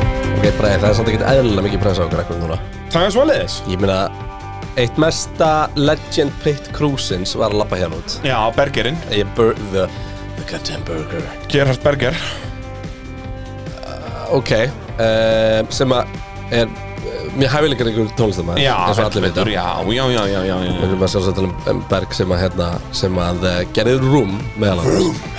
Nei, það er samt ekkert eðlilega mikið pressa á okkur akkur núna. Það er svoleiðis Ég meina, eitt mesta legend pit cruisins var að labba hérna út. Já, Bergerinn, Ég bur... The, the goddamn burger. Gerhard Berger Ok, uh, sem að er eh, mjög hæfileikar ykkur tónlistamæður, Já, eins og allir vita. heldur betur, já, já, já, já, já, Við já. erum að sjálfsagt tala um- um Berg sem að, hérna, sem að uh, gerði Room meðal annars. Room!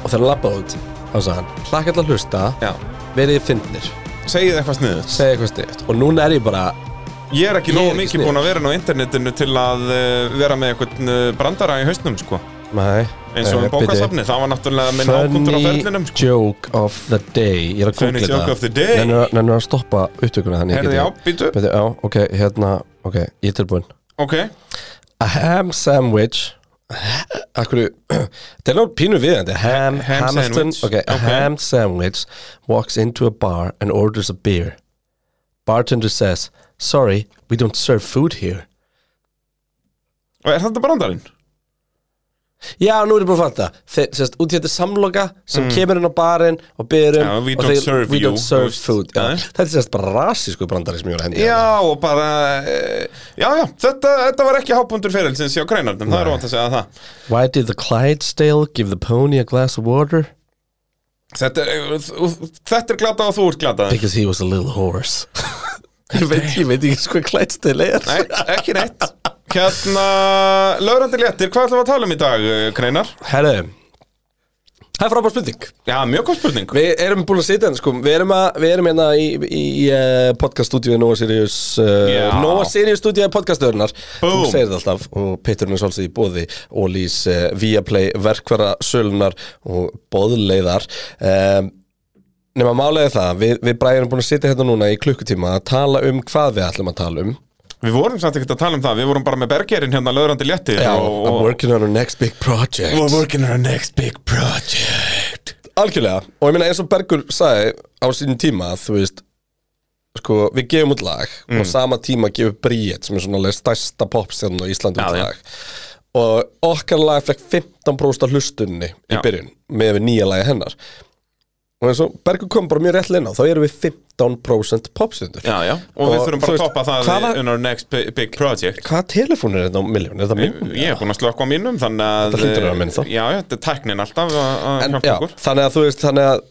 Og þegar hann labbaði út, þá sagði hann, hlakka alltaf hlusta, já. verið fyndnir, Segið eitthvað sniðut segja eitthvað stift. Og núna er ég bara, Ég er ekki Ég er nógu ekki mikið sniðugur. búinn að vera inn á internetinu til að uh, vera með eitthvað uh, brandara í hausnum, sko mæ, eins og um bókasafni, það var náttúrulega minn ákundur á ferlinum sko. joke of the day, ég er að Funny googla joke þetta. of the day. Nennirðu að- nennirðu að stoppa upptökuna þannig. Herði, já, býtu, Bæði, já, ok, hérna, ok, ég er tilbúinn. ok A ham sandwich Akkur, þetta er náttúrulega pínu viðandi Ham, Ham Hamilton, sandwich. okay, A Ok. ham sandwich walks into a bar and orders a beer Bartender says Sorry, we don't serve food here Og er þetta brandarinn? Já, nú er ég búin að fatta Þeir, sérst, út í þetta er samloka sem kemur inn á barinn og byrjum Mm. Já, we og don't serve we you, don't serve þú veist. food já, Nei. Þetta er sérst bara rasísku brandari sem ég var að hendi Já, og bara, uh, já, já, þetta, þetta var ekki hápundur ferilsins hjá greinarnum, það er óvænt að segja það Why did the Clydesdale give the pony a glass of water? Þetta er, þetta er glata og þú ert glata Because he was a little horse ég, veit, ég veit ekki sko hvað Clydesdale er Nei, ekki neitt Hérna, laurandi léttir, hvað ætlum við að tala um í dag, eh, Kreinar? Herru Það er frábær spurning Já, mjög góð spurning Við erum búin að sitja hérna sko Við erum, að, við erum hérna í, í uh, podcaststúdíu Nova Sirius uh, Já. Nova Sirius stúdíu podcastöðurnar Búm. Þú segir það alltaf og Peturinn er svolítið í bóði Ólís, uh, Viaplay, verkvara sölunar og boðleiðar um, Nefna málega það Við, við bræðum búin að sitja hérna núna í klukkutíma að tala um hvað við ætlum að tala um Við vorum samt ekkert að tala um það, við vorum bara með bergerinn hérna, laurandi léttir og, I'm og, working on our next big project We're working on our next big project Algjörlega, og ég meina eins og Bergur sagði á sínum tíma að þú veist sko, við gefum út lag Mm. og sama tíma gefum Bríett sem er svona alveg stærsta popstjarn á Íslandi út Já, já. lag og okkar lag fekk 15% af hlustunni Já. í byrjun með við nýja lagi hennar og eins og Bergur kom bara mjög rétt inn á þá erum við 15% popstjarnur Já, já, og, við Og þú þurfum bara að veist, toppa það hvaða- in our next bi- big project Hvaða telefón er þetta á milljón? Er þetta minn? Ég er búinn að slökka á mínum, þannig að Þetta hlýtur að vera minn þá. Já, já, þetta er tæknin alltaf að að En, hjálpa já, okkur þannig að þú veist, þannig að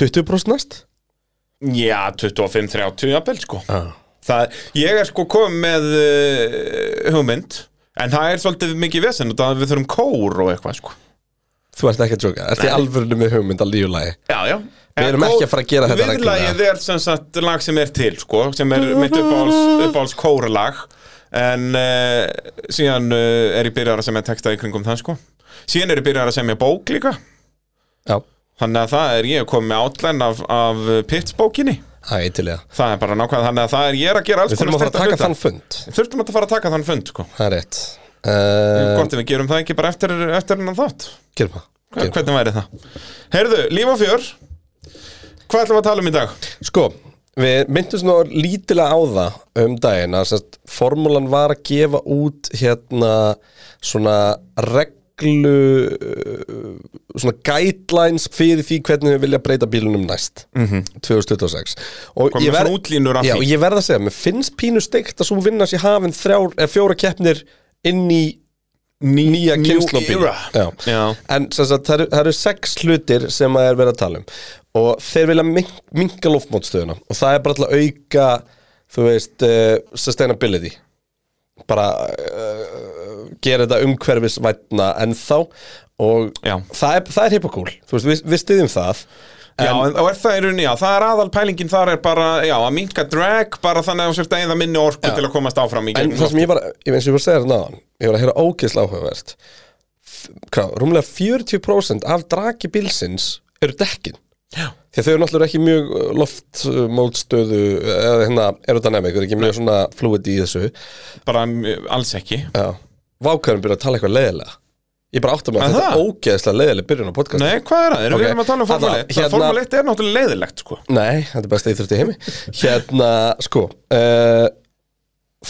20% næst? Já, 25-30 jafnvel, sko Já Það, ég er sko komið með uh, hugmynd En það er svolítið mikið vesen út af að við þurfum kór og eitthvað sko Þú ert ekki að tjóka, ert í alvörinu með hugmynd að líju lagi Já, já Við erum ekki að fara að gera þetta Viðlagið er sem sagt lag sem er til sko Sem er mitt uppáhalds, uppáhalds kórlag En uh, síðan uh, er ég byrjar að semja texta í kringum það sko Síðan er ég byrjar að semja bók líka Já Þannig að það er ég komið með outline af, af pitsbókinni Það er til í það. Það er bara nákvæmlega þannig að það er ég er að gera alls Við þurfum að fara að steikta taka hluta. þann fund. Þurftum að fara að taka þann fund sko Það er rétt. Uh, Hvort ef við gerum það ekki bara eftir, eftir hennan þátt gerum það. Hva, Gerum. Hvernig væri það? Heyrðu, líf og fjör Hvað ætlum við að tala um í dag? Sko, við myndum svona lítilega á það um daginn að sérst, formúlan var að gefa út hérna svona reglu, uh, svona guidelines fyrir því hvernig við vilja breyta bílunum næst, 2026. Og Komum ég Mhm. svona verð- útlínur af Já, því. og ég verð að segja, mér finnst pínu steikt að svo vinna sér hafin þrjár, eh, fjóra keppnir inn í Ný, nýja new kynnslóbíl era. Já. En sem sagt, það, eru, það eru sex hlutir sem að er verið að tala um og þeir vilja mink, minka loftmótstöðuna og það er bara til að auka þú veist, uh, sustainability bara uh, gera þetta umhverfisvætna ennþá og Já. það er, það er hippokúl, þú veist, við, við styðjum það Já, en, og er það í rauninni, já, það er aðal pælingin þar er bara, já, að minka drag bara þannig að þú sért að eða minni orku til að komast áfram í En gegnum það sem ég var, ég eins og ég var að segja þetta náðan Ég var að heyra ógeðslega áhugavert F- Hvað, rúmlega 40% af draki bílsins eru dekkin Já. Því að þau eru náttúrulega ekki mjög uh, loftmótstöðu eða hérna aerodynamic, eru ekki mjög svona fluid í þessu bara mm, alls ekki Já Vákvæðurinn byrja að tala eitthvað leiðilega Ég bara átta mig Er að þetta það? er ógeðslega leiðilega byrjun á podcast Nei, hvað er það? Erum Ok. við erum að tala um Formule Alla, 1 hérna- hérna... Formule 1 er náttúrulega leiðilegt, sko Nei, þetta er besta íþrótt í heimi Hérna, sko uh,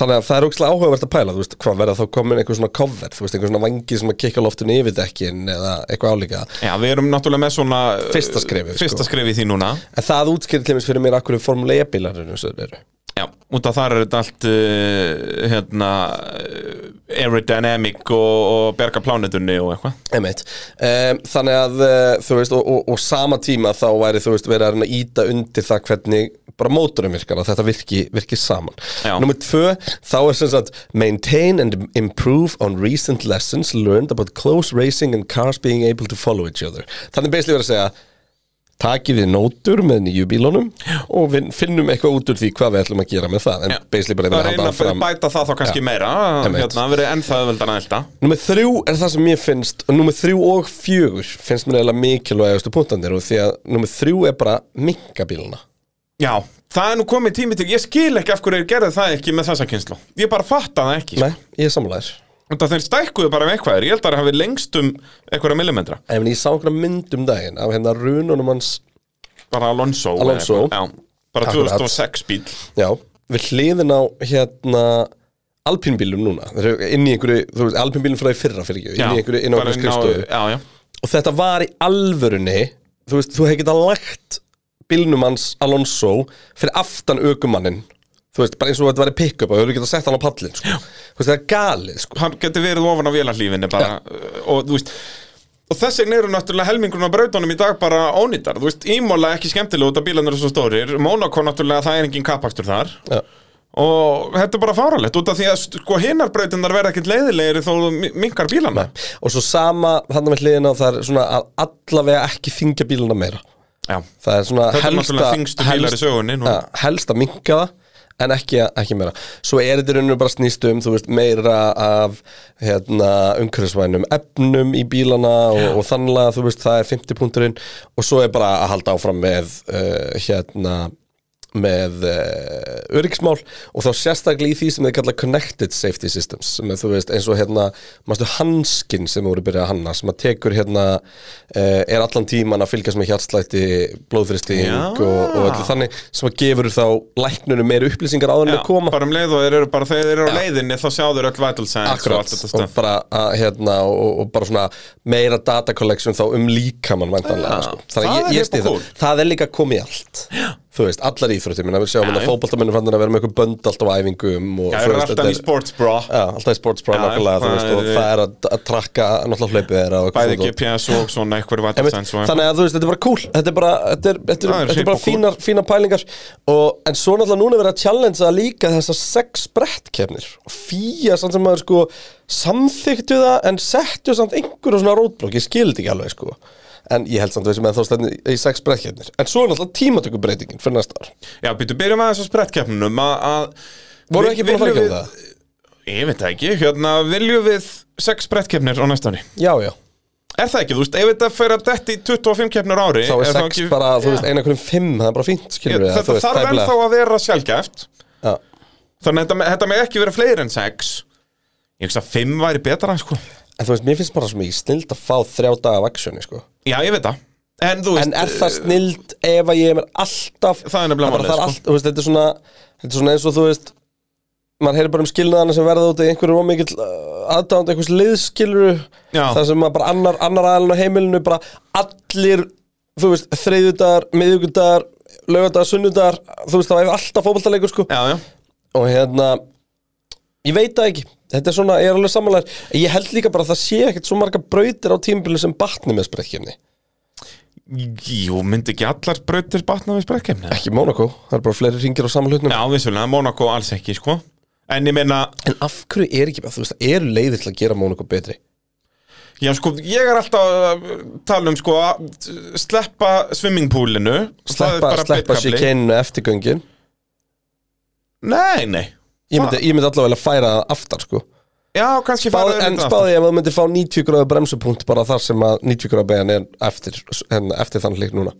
Þannig að það er ógstlega áhugavert að pæla, þú veist, hvað verða þá komin einhver svona cover, þú veist, einhver svona vangi sem að kikka loftinu yfir dekkin eða eitthvað álíka Já, við erum náttúrulega með svona uh, Fyrsta skrefið, sko. Fyrsta skrefið í því núna En það útskýrði til fyrir mér akkur formulega bílarinu sem þeir E eru Já, út af þar er þetta allt uh, hérna uh, aerodynamic og, og berga plánetunni og eitthvað Einmitt. Um, þannig að eh, þú veist og, og, og sama tíma þá væri þú veist verið að reyna að íta undir það hvernig bara mótorum virkar að þetta virki, virki saman Já. Númer tvö, þá er sem sagt maintain and improve on recent lessons learned about close racing and cars being able to follow each other þannig basically verið að segja takið þið nótur með nýju bílunum og við finnum eitthvað út úr því hvað við ætlum að gera með það en Já. basically bara Það verið er að einn halda að fram... áfram bæta það þá kannski Já. meira Einmitt. Hérna, það verið ennþað veldan að elda Númer þrjú er það sem ég finnst og númer þrjú og fjögur finnst mér eiginlega mikilvægastu punktandir og því að númer þrjú er bara minkabíluna Já, það er nú komið tími til Ég skil ekki af hverju þeir gerðu það ekki með þessa kynslu Ég bara fatta það ekki Nei, ég er samlæður Út af þeir stækkuðu bara með eitthvað Ég held að það hafi lengst um einhverja millimetra En ég sá einhverja mynd um daginn af hérna rununum hans Bara Alonso eða Alonso. eitthvað. Já, bara Akkurat. 2006 bíl Já, við hliðin á hérna alpínbílum núna Þeir eru inn í einhverju, þú veist, alpínbílum frá því fyrra fyrir ekki inn í einhverju, inn á bara einhverju skrifstofu Já, já og þetta var í alvörunni þú veist, þú hefði geta lagt bílnum hans Alonso fyrir aftan aukumannin þú veist, bara eins og þetta væri pick-up og þú hefði geta sett hann á pallin sko. þú veist, það er galið sko. hann getur verið ofan á vélarlífinni bara, uh, og þú veist og þess vegna eru náttúrulega helmingurinn á brautunum í dag bara ónýttar, þú veist, ímóla ekki skemmtilega út af bílarnir eru svo stórir, Monaco náttúrulega það er engin kapakstur þar Já. og þetta er bara fáralegt út af því að sko hinnar brautinnar verða ekkert leiðilegir þó þú mi- minnkar bílarna og svo sama þannig með hliðina það er svona að allavega ekki þingja bíluna meira Já. það er svona Þetta er helsta náttúrulega þingstu bílar í sögunni núna. ja, helst að minka það en ekki, ekki meira svo er þetta í rauninu bara snýst um þú veist, meira af hérna, umhverfisvænum efnum í bílana og, og þannlega þú veist það er 50 punkturinn og svo er bara að halda áfram með uh, hérna með uh, öryggismál og þá sérstaklega í því sem þið kalla connected safety systems sem er þú veist eins og hérna mástu hanskin sem voru byrjað að hanna sem að tekur hérna uh, er allan tíman að fylgjast með hjartslætti blóðþristing Já. og, og öllu þannig sem að gefur þá læknunum meiri upplýsingar áður en Já, að koma bara um leið og þeir eru bara þegar þeir eru á leiðinni þá sjá þeir öll vital signs og allt Akkurat, þetta og stöf bara, að, hérna, og, og bara svona meira data collection þá um líkamann vantanlega Já, sko. Þannig það að er ég, ég hip stið og það, það er líka komið í allt Þú veist, allar íþróttir minna, við sjáum Já, að já. fótboltamennum fannir að vera með eitthvað bönd alltaf á æfingum og, þú Já, þeir eru veist, alltaf þetta í sports bra Já, alltaf í sportsbrá Já, nákvæmlega, þú það veist, og er- það er að, að trakka náttúrulega hlaupið þeirra og bæði eitthvað svona. GPS og svona eitthvað Einmitt, vital signs og Þannig að þú veist, þetta er bara cool Þetta er bara, þetta er, þetta er, Það þetta er er hreip bara og cool. fínar, fínar pælingar og, En svo náttúrulega núna er verið að challengea líka þessar sex brettkefnir Og fýja samt sem maður sko samþyktu það En settu samt einhverju svona rótblokk Ég skildi ekki alveg sko En ég held samt að við sem eða þá stendur í sex brettkefnir En svo er náttúrulega tímatökubreytingin fyrir næsta ár Já, býtu, byrjum aðeins á sprettkeppnunum að, að Voru ekki búin að fara ekki um Viljum það? við- Ég veit það ekki, hérna, viljum við sex sprettkeppnir á næsta ári Já, já, Er það ekki, þú veist, ef þetta fer að detti í 25 keppnir á ári þá er sex ekki, bara, þú Já. veist, eina hverjum fimm Það er bara fínt, skilur við Þetta þarf ennþá að vera sjálfgæft ennþá Þannig að þetta, me- þetta með ekki vera fleiri en sex Ég veist að 5 væri betra, sko En þú veist, mér finnst bara svo mikið snild að fá þrjá daga af aksjóni, sko Já, ég veit það En þú veist, eh, En er það snild ef að ég er mér alltaf Það er nefnilega bara, málið, það er sko. allt, þú veist, þetta er svona Þetta er svona eins og þú veist Maður heyrir bara um skilnaðana sem verða út í einhverju ómikill aðdánd einhvers liðskiluru Já. Það sem að bara annar, annar aðalinn á heimilinu bara allir, þú veist, þriðudagar, miðvíkudagar, laugardagar, sunnudagar Þú veist, það var alltaf fótboltaleikur, sko já, já og hérna ég veit það ekki, þetta er svona, ég er alveg samanlegar ég held líka bara að það sé ekkert svo marga brautir á tímabilinu sem batni með sprekkjumni Jú, myndi ekki allar brautir batna við sprettkeppnir ekki Monaco, það er bara fleiri ringir á saman hlutnum Já, vissulega, Monaco alls ekki, sko En ég meina, en af hverju er ekki, bara, þú veist, það eru leiðir til að gera Monaco betri Já, sko, ég er alltaf að tala um, sko, að sleppa swimmingpoolinu Það er sleppa, bara sleppa beinn kafli. síkeninu eftir göngin Nei, nei ég myndi, ég myndi allavega að færa það aftar sko. Já, kannski Báð, fara en auðvitað spáði ég að það myndi fá 90 gráðu bremsupunkt bara þar sem að 90 gráðu bein er eftir, en, eftir þann lík núna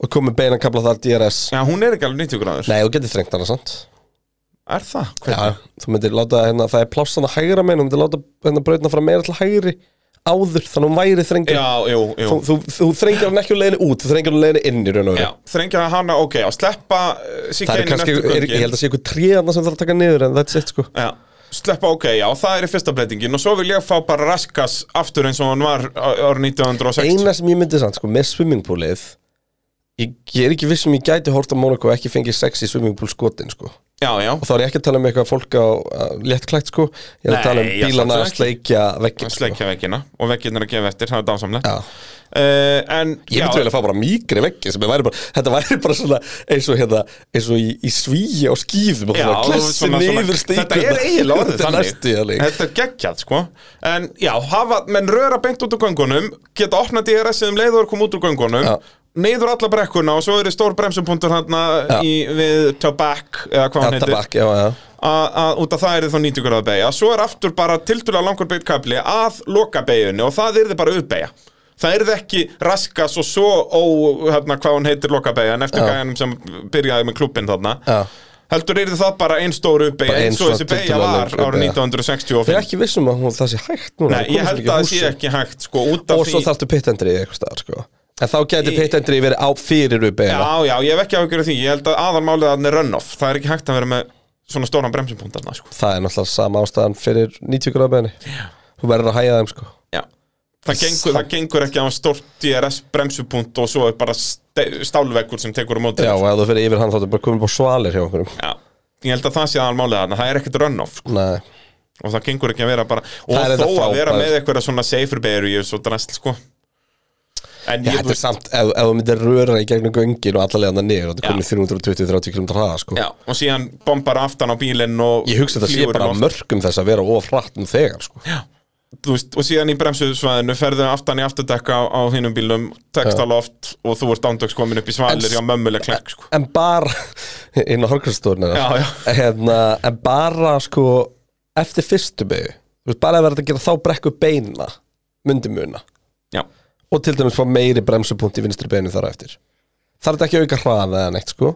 og komið bein að kapla þar DRS aftur. Já, hún er ekki alveg 90 gráður nei, þú getur þrengt hana samt Er það? Já, þú myndir láta hérna, það er plássan að hægra megin, þú myndir láta hérna brautina fara meira til hægri áður þannig að hún væri þrengri Já, jú, jú þú, þú, þú þrengir hann ekki úr leiðinni út, þú þrengir hann úr leiðinni inn í raun og veru Já, þrengja hana, ok, að sleppa Það er síkkeinu kannski, er, næstu ég held göngin að sé ykkur tréðarna sem þarf að taka niður en that's it sko Já, sleppa, ok, já, það er í fyrsta breytingin og svo vil ég fá bara raskas aftur eins og hann var eh, árið 1960 Eina sem ég myndi samt sko með swimmingpoolið ég, ég er ekki viss um ég gæti hórt á Monaco og ekki fengið sex í swimmingpool skotin sko og Já, já, þá er ég ekki að tala um eitthvað fólk á uh, léttklætt sko ég er Nei, að tala um ég bílana samt að ekki. sleikja veggin sko. sleikja veggina og veggirnir að gefa eftir, það er dásamlega Já. uh, En, Ég já, myndi vel að fá bara mýkri veggi sem væri bara, þetta væri bara svona eins og hérna, eins og í, í svíi á skýðum og Já, svona klessi svona- svona- niður stíkuna Þetta er eiginlega orðið Þetta er þannig næstu í þannig Þetta er geggjað sko En já, hafa, menn röra beint út úr göngunum Geta opnað DRS-ið um leið og er koma út úr göngunum Já. Neyður alla brekkuna og svo eru stór bremsupunktur hérna í, við Tobac eða hvað hann Þetta heitir bakk, já, já að- að út af það er þá 90 gráða beigja svo er aftur bara tildulega langur beigt kapli að loka beigjunni og það er þið bara uppbeigja það er þið ekki raskas og svo ó, hérna, hvað hún heitir loka beigjan eftir gæjanum sem byrjaði með klubbin þarna Já. heldur er þið það bara einn stór uppbeigja Bara ein eins og þessi svona beigja tiltölulega var löng árið uppbeygja. Ég er 1965 ekki vissum að hún, það sé hægt núna Nei, það ég komast ekki húsum. held að það sé ekki hægt sko út af Og svo því þarftu pittendri eitthvað staðar sko En þá gæti Í- pittendri verið á fyrir upp Já, eða já, ég hef ekki áhyggjur af því, ég held að aðalmálið að hann er runoff, það er ekki hægt að vera með svona stóran bremsupunkt þarna, sko. Það er náttúrulega sama ástæðan fyrir 90 gráða beðinni Þú verður að hæja þeim sko Já Það gengur, það gengur ekki að hann stórt DRS bremsupunkt og svo er bara ste- stálveggur sem tekur á móti Já, þér. og ef þú fyrir yfir hann þá er bara komin bara svalir hjá einhverjum Já. Ég held að það sé aðal málið þarna, það er ekkert runoff sko. Nei, og það gengur ekki að vera bara Það og er þó þetta að vera frábært. með eitthvað svona safer barriers og drast sko En Já, ég, þetta er samt, ef, ef þú myndir röra í gegnum göngin og allalega hann niður, þetta Já. er komin í 320-30 km hraða sko já, og síðan bombar aftan á bílinn og Ég hugsa þetta sé flýgur bara inn á- mörgum þess að vera of hratt um þegar sko þú veist, og síðan í bremsusvæðinu ferðu aftan í afturdekka á, á hinnum bílum texta loft og þú ert ándöks komin upp í En svalir s- hjá mömmuleg klekk sko. en bara inn á horkastórnina Já, já. hérna, en bara sko eftir fyrstu begu þú veist, bara að vera að gera þá brekku beina myndi muna Já, og til dæmis fá meiri bremsupunkt í vinstri beinu þar á eftir þarf þetta ekki að auka hraða eða neitt sko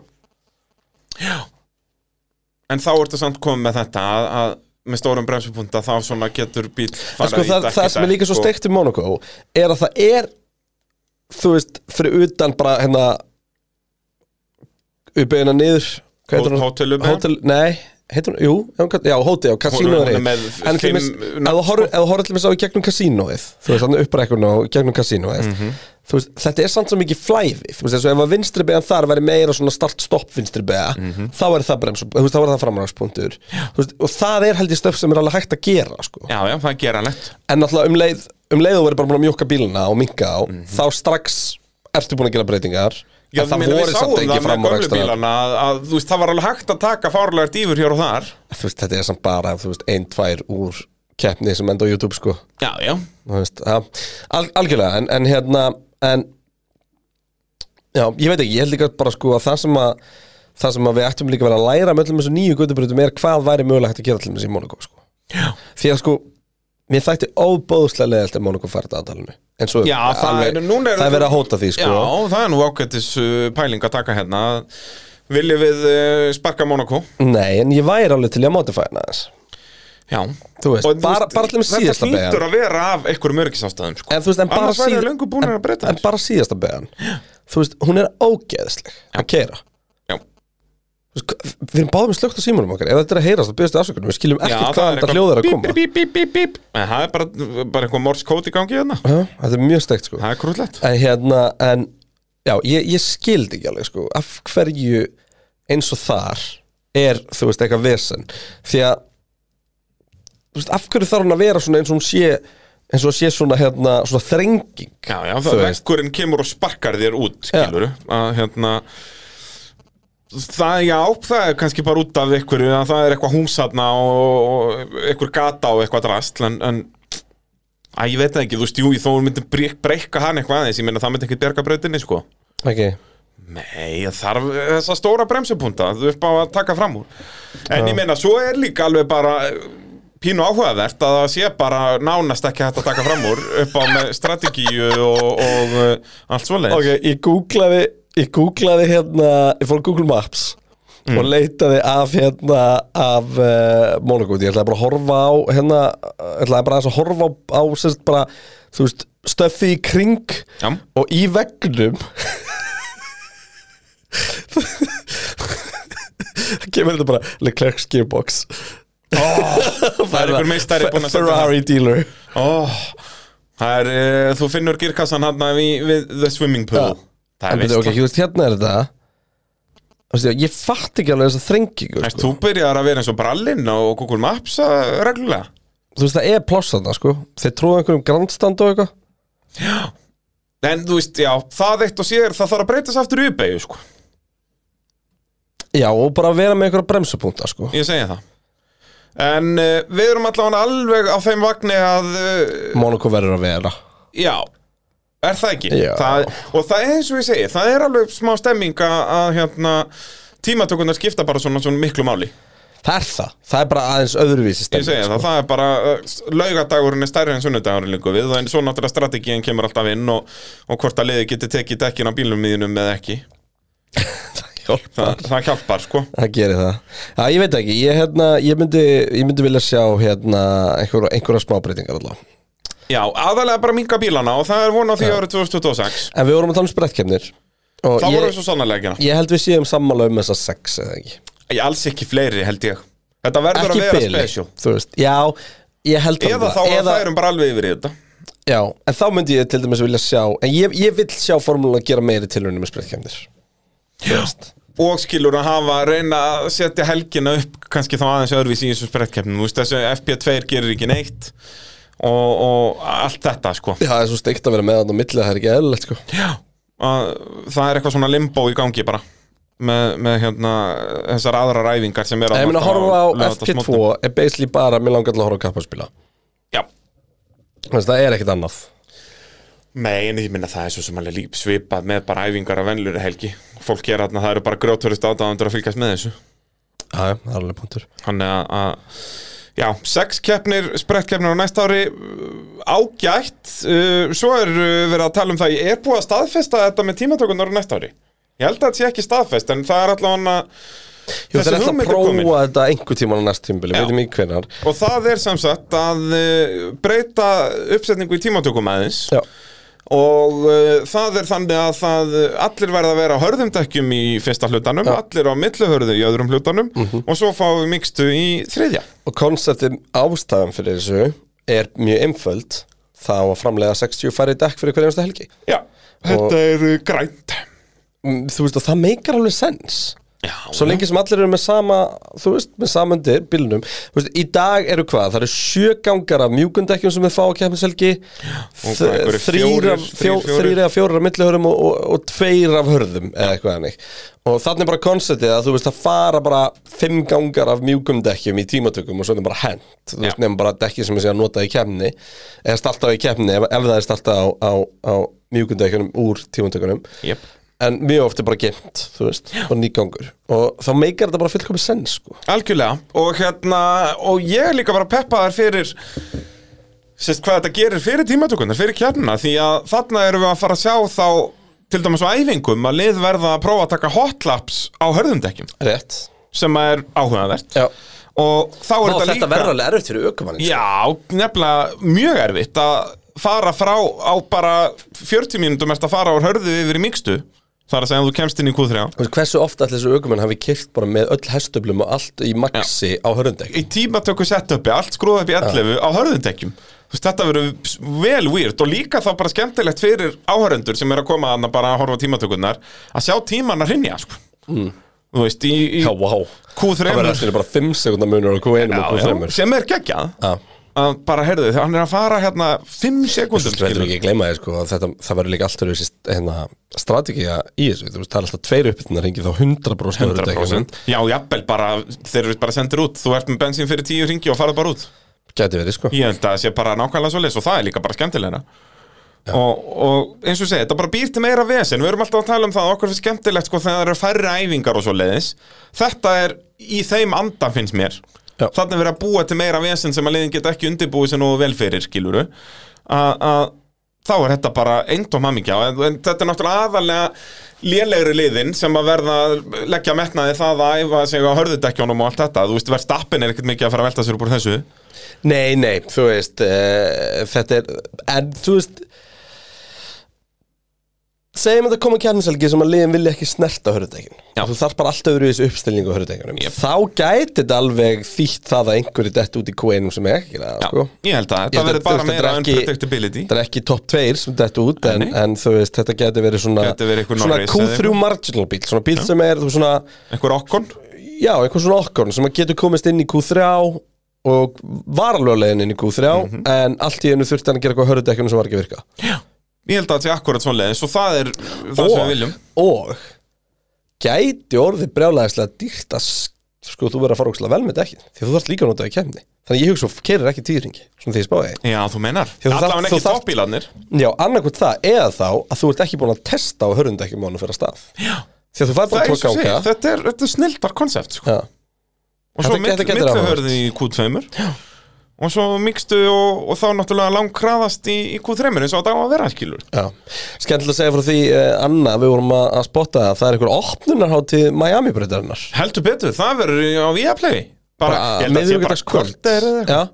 En þá ertu samt komið með þetta að, að með stórum bremsupunta þá svona getur bíl En sko, það, það sem er líka svo steikt í Monaco er að það er þú veist, fyrir utan bara hérna uppegina niður hvað heitir hún? Hótelubbeigjan? Hótel, nei, heitir hún, jú, já, hún kall- já, hótel, já, Hún- hún kasínóið er með en til fimm dæmis, nöfn, sko. ef þú horfir- ef þú horfir til mér sá í gegnum kasínóið þú veist, þannig upprekkuna og gegnum kasínóið Mhm. þú veist, þetta er samt svo mikið flæði þú veist, eins og ef að vinstri beðan þar væri meira svona start-stopp vinstri beða Mhm. þá er það bremsu, þú veist, þá er það framragspunktur Þú veist, og það er held ég stöf sem er alveg hægt að gera sko Já, já, það er geranlegt en náttúrulega um leið um leið þú verður bara búin að mjóka bíluna og minka á þá strax ertu búin að gera breytingar Mhm. Já, en það meina, við voru sáum samt það ekki með fram á gömlu rekstrar bílana að, að, þú veist, það var alveg hægt að taka fárlega dýfur hér og þar þú veist þetta er samt bara þú veist ein, tvær úr keppni sem enda á YouTube sko Já, já þú veist ja, al algjörlega en, en hérna en já ég veit ekki ég held líka bara sko að það sem að það sem að við ættum líka að vera að læra með öllum þessu nýju göttubrutum er hvað væri mögulegt hægt að gera til þessi í Monaco sko Já, því að sko Mér þætti óbóðslega leðalt að Monaco fært aðdalinu En svo Já, það er- núna er- Það er verið að hóta því sko það er nú ágættis uh, pæling að taka hérna Viljum við uh, sparka Monaco Nei, en ég væri alveg til í að modify hana aðeins Já Þú veist, bara, bara til með síðasta Þetta hlýtur beðan að vera af einhverjum örgisástæðum sko. En þú veist, en bara, Annars væri síð... löngu búin að breyta en bara síðasta beðan Þú veist, hún er ógeðsleg að keira Já. Við erum báðum slögt á símanum okkar Ef þetta er að heyrast, þá byrjastu afsökunum Við skiljum Já, ekkert það hvað er þetta eitthvað hljóð er að bíp, koma bíp, bíp, bíp, bíp. En það er bara, bara eitthvað morskót í gangi hérna Já, Þetta er mjög stegt sko Það er krúllett En hérna, en Já, ég, ég skildi ekki alveg sko Af hverju eins og þar Er, þú veist, eitthvað vesen Því að Þú veist, af hverju þarf hún að vera svona eins og hún sé Eins og sé svona, hérna, svona þrenging Já, já, Þú það veist. vekkurinn kemur og sparkar þér út, skilur að hérna það, já, það er kannski bara út af einhverju að það er eitthvað húsatna og, og einhver gata og eitthvað drastl en, en að ég veit það ekki, þú veist, jú, þó hún myndi brek- breikka hann eitthvað aðeins, ég meina það myndi ekki berga brautinni, sko okay. Nei, það þarf þessa stóra bremsupunta þú upp á að taka fram úr En ég meina, svo er líka alveg bara eh, pínu áhugavert að það sé bara nánast ekki hægt að taka fram úr upp á með strategíu og, og eh, allt svoleiðis ok, ég googlaði Ég googlaði hérna Ég fór á Google Maps Mm. og leitaði af hérna af uh, Monaco ég ætlaði bara að horfa á hérna eh, ætlaði bara aðeins að horfa á, á sérst bara þú veist stöffi í kring Já. og í vegnum það kemur þetta bara Leclerc's gearbox Það er einhver meistari búin að setja Ferrari dealer Ó, það er, uh, þú finnur girkassan hann við, við the swimming pool Já. Það er En veist byrju, ok, þú veist, hérna er þetta Þú veist, ég fatt ekki alveg þessa þrengingu Erst sko. þú byrjar að vera eins og brallinn á Google Maps eh, reglulega? Þú veist, það er pláss þarna, sko Þeir trúðu einhverjum grandstand og eitthvað En þú veist, já, það eitt og sér, það þarf að breytast aftur í uppeigju, sko. Já, og bara vera með einhverja bremsupunkta, sko Ég segja það. En uh, við erum allavega alveg á þeim vagni að, uh, Monaco verður að vera já, er það ekki? Já. Það, og það er eins og ég segi, það er alveg smá stemming að, að hérna, tímatökunar skipta bara svona, svona miklu máli. Það er það, það er bara aðeins öðruvísi sko. Ég segja stemming það, það er bara, uh, laugadagurinn er stærri en sunnudagurinn líka við, en svo náttúrulega strategíin kemur alltaf inn og, og hvort að liði geti tekið dekkin á bílum miðinum eða ekki. Það hjálpar Það, það hjálpar, sko. Það gerir það. Já, ég veit ekki, ég, hérna, ég, myndi, ég myndi vilja sjá hérna, einhverja, einhverja smábreytingar allavega. Já, aðalega bara minga bílana og það er von á því árið 2026 En við vorum að tala um spretkefnir og Það voru ég, svo sannarlega ekki hana. ég held við séum sammála um þessa sex eða ekki. Ég alls ekki fleiri held ég Þetta verður Ekki að vera bili, special þú veist, já, ég held Eða þá að færum bara alveg yfir í þetta Já, en þá myndi ég til dæmis vilja sjá En ég, ég vil sjá formúlan að gera meiri tilraunir með spretkæmdir Og skilur að hafa að reyna að setja helgina upp kannski þá aðeins öðruvís í þessu sprettkeppnum Þú veist þessu FP2 gerir ekki neitt og, og allt þetta sko Já, það er svo steikt að vera með þannig á milli að það er ekki eðlilegt sko. Já að, Það er eitthvað svona limbo í gangi bara með, með hérna þessar aðrar æfingar sem er Ég meina að horfa á FP2 laugardagsmorgnum. er basically bara Mér langar til að horfa á kapparspila Já Þess, Það er ekkert annað Nei, en ég minna það er svo sem alveg líp svipað með bara æfingar af venlur helgi Fólk er þarna, það eru bara grjóturist átáðandur að fylgjast með þessu Já, já, það er alveg punktur Þannig að- að, já, sex keppnir, sprettkeppnir á næsta ári uh, Ágætt, uh, svo er uh, verið að tala um það Ég er búið að staðfesta þetta með tímatökunar á næsta ári Ég held að þetta sé ekki staðfest, en það er allavega Jú, það er eftir Þessi að hugmynd er prófa komin. þetta einhver tíma á næst tímbili, Já. við veitum í hvenar Og það er sem sagt að uh, breyta uppsetningu í tímatökum aðeins Já, og uh, það er þannig að það, uh, allir verða að vera á hörðum dekkjum í fyrsta hlutanum, allir á milluhörðu í öðrum hlutanum og svo fáum við mikstu í þriðja. og konseptið ástæðan fyrir þessu er mjög einföld Það á að framlega 60 færri dekk fyrir hverja einasta helgi Já, þetta Og- er uh, grænt. Mm, Þú veist, og það meikar alveg sens Já, Svo lengi sem allir eru með sama, þú veist, með samundir, bílnum Þú veist, Í dag eru hvað? Það eru sjö gangar af mjúkundekkjum sem við fá á kemmishelgi hvað, einhverjir Þrýr fjórir, af- fjó- þrír, fjórir? þrír eða fjórir af millihörðum og, og, og tveir af hörðum eða eitthvað hannig Og þannig er bara konceptið að þú veist að fara bara fimm gangar af mjúkundekkjum í tímatökum og svo er það bara hent Þú veist, nefnum bara dekkið sem er síðan notað í kemni eða startað í kemni ef, ef það er startað á, á, á mjúkundekkjunum úr tímatökunum Jep. en mjög oft er bara geimt, þú veist, og nýgangur og þá meikar þetta bara fullkomis sens, sko Algjörlega, og hérna, og ég er líka bara peppaðar fyrir sérst hvað þetta gerir fyrir tímatökunar, fyrir kjarnina, því að þarna erum við að fara að sjá þá til dæmis á æfingum að lið verða að prófa að taka hotlaps á hörðum dekkjum Rétt sem er áhugavert Já, og þá er Ná, þetta þetta, líka verður alveg erfitt fyrir sko. aukumannin Já, nefnilega mjög erfitt að fara frá á bara 40 mínútum eftir að fara úr hörðu yfir í mikstu þar að segja að þú kemst inn í Q3 Þú veist, hversu ofta allir þessu aukumann hafi kyrkt bara með öll hestöflum og allt í maxi á hörundek í tímatöku setupi, allt skrúða upp í 11 á hörðundekjum Þú veist, þetta verður vel weird og líka þá bara skemmtilegt fyrir áhörundur sem er að koma þarna bara að horfa á tímatökurnar að sjá tíman að rinja sko. mm. Þú veist, í, í Já, vá Q3 Það verður allir bara 5 sekundar munur á Q1 og Q3 sem er geggjað Já. að bara heyrðu, þegar hann er að fara hérna 5 sekundum Þú verður skilur. ekki að gleyma þér, sko að þetta, Það verður líka alltaf þessi hérna, strategía í þessu Þú veist, það er alltaf tveir uppbytunar hringið þá 100% á hörundekkjunum. 100% Já, jafnvel bara, þeir eru bara sendir út Þú ert með bensín fyrir tíu ringi og farað bara út Gæti verið, sko Ég held að það sé bara nákvæmlega svo og það er líka bara skemmtilega og, og eins og ég segi, þetta bara býr til meira vesen Við erum alltaf að tala um það, að okkur fyrir skemmtilegt sko, þegar það eru færri æfingar og svo leiðis Þetta er í þeim anda finnst mér Já. Þannig verið að búa til meira vesen sem að leiðin geta ekki undirbúið sem nógu vel fyrir, skiluru að þá er þetta bara eindóm hamingja en, en þetta er náttúrulega aðalega lélegri liðin sem að verða að leggja metnaði það að æfa sig á hörðudekkjónum og allt þetta, þú veist, verð stappin er ekkert mikið að fara að velta sér upp úr þessu Nei, nei, þú veist uh, Þetta er, en þú veist Segjum að það koma kjarniselgi sem að liðin vilja ekki snerta hörðutekin Já. Þú þarf bara alltaf verið þessu uppstilningu á hörðutekinum Jep. Þá gæti þetta alveg þýtt það að einhverju dett út í Q1 sem er ekki það, Já, sko ég held að Ég held þetta að- verður þú bara veist, þetta meira er ekki- unpredictability Þetta er ekki top 2 sem dett út en, Nei. en þú veist, þetta gæti verið svona, Gæti verið einhver svona Norris eða Q3 marginal bíl Svona bíl sem er, þú veist, svona einhver okkon, Já, einhvern svona okkorn sem að getur komist inn í Q3 og var alveg á leiðin inn í Q3 Mhm. en allt í einu þurfti hann að gera eitthvað hörðudekkjunum sem var ekki að virka ég held að þetta er akkurat svona leiðin, svo það er það sem við og, viljum og gæti orðið brjálæðislega dýrt að s- sko þú verður að fara ókslega vel með dekkin því að þú þarft líka að nota það í kemni þannig að ég hugsa, keirir ekki tíðringi svona því ég spáði Já, þú meinar, Því þú þarft- þú allavega ekki þarft- toppbílarnir Já, annarkvæmt það, eða þá að þú ert ekki búin að testa á hörðudekkjum ánum fyrir að stað Já, því að þú fær það bara er tvo eins og segir, ganga þetta er, þetta er snildar konsept sko. Já, og svo Þetta- þetta gæti verið áhugavert. millihörði í Q2 og svo mikstu og, og þá náttúrulega langkraðast í, í Q3 eins og þetta á að vera skilur já Skemmtilega að segja frá því, eh, Anna, við vorum að, að spotta það að það er einhver opnunarháttið Miami-breytarinnar heldur betur, það verður á Viaplay bara, ég held að sé bara miðvikudagskvöld korter eða eitthvað. Já,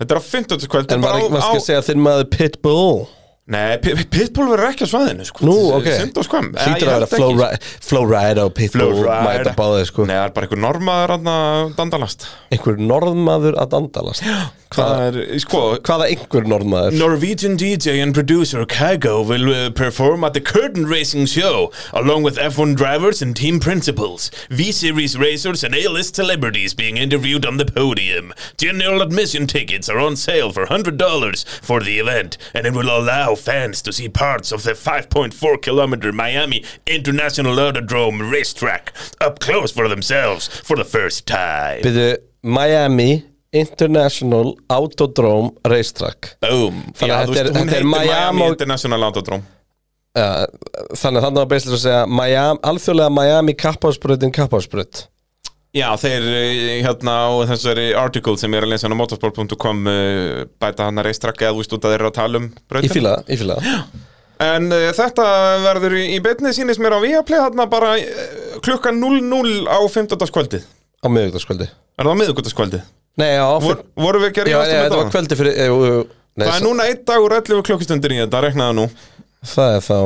þetta er á 50. kvöld en var ekki á, að segja þinn maður Pitbull nei, P- P- Pitbull verður ekki á svaðinu sko. Nú, ok. sind og skvam Eh, Hlýtur að ég held vera Flow ekki. Ri- Flow Rider og Pitbull Flow Rider. mæta báðið sko nei, það er bara einhver normaður anna, dandalast Einhver norðmaður að dandalast það er, sko Hvaða einhver norðmaður? Norwegian DJ and producer Kago will uh, perform at the Curtain Racing Show along with F1 drivers and team principals, V Series racers, and A list celebrities being interviewed on the podium. General admission tickets are on sale for $100 for the event, and it will allow fans to see parts of the 5.4 kilometer Miami International Autodrome racetrack up close for themselves for the first time. Byrðu Miami International Autodrome Racetrack Boom. Þannig að þetta er- þetta er Miami International Autodrome. uh, Þannig að þannig var beislega að segja Miami, Alþjóðlega Miami kappásbröðin kappásbröð Já, þeir eh, hérna á þessari article sem ég er að lesa hann á motorsport.com eh, bæta hann að reistrakka eða þú veist út að þeir eru að tala um Ég brautin fíla það, ég fíla það En uh, þetta verður í, í beinni sýnist mér á Viaplay hérna bara uh, klukkan 00 á 15. kvöldið Á miðvíkudagskvöldi Er það á miðugutaskvöldið? Nei, já, Vor, voru við ekki að já, reyna já, þetta þetta? var kvöldi fyrir eh, jú, jú. Nei, Það er núna einn dagur 11 klukkustundir í þetta, reknaðu nú það er þá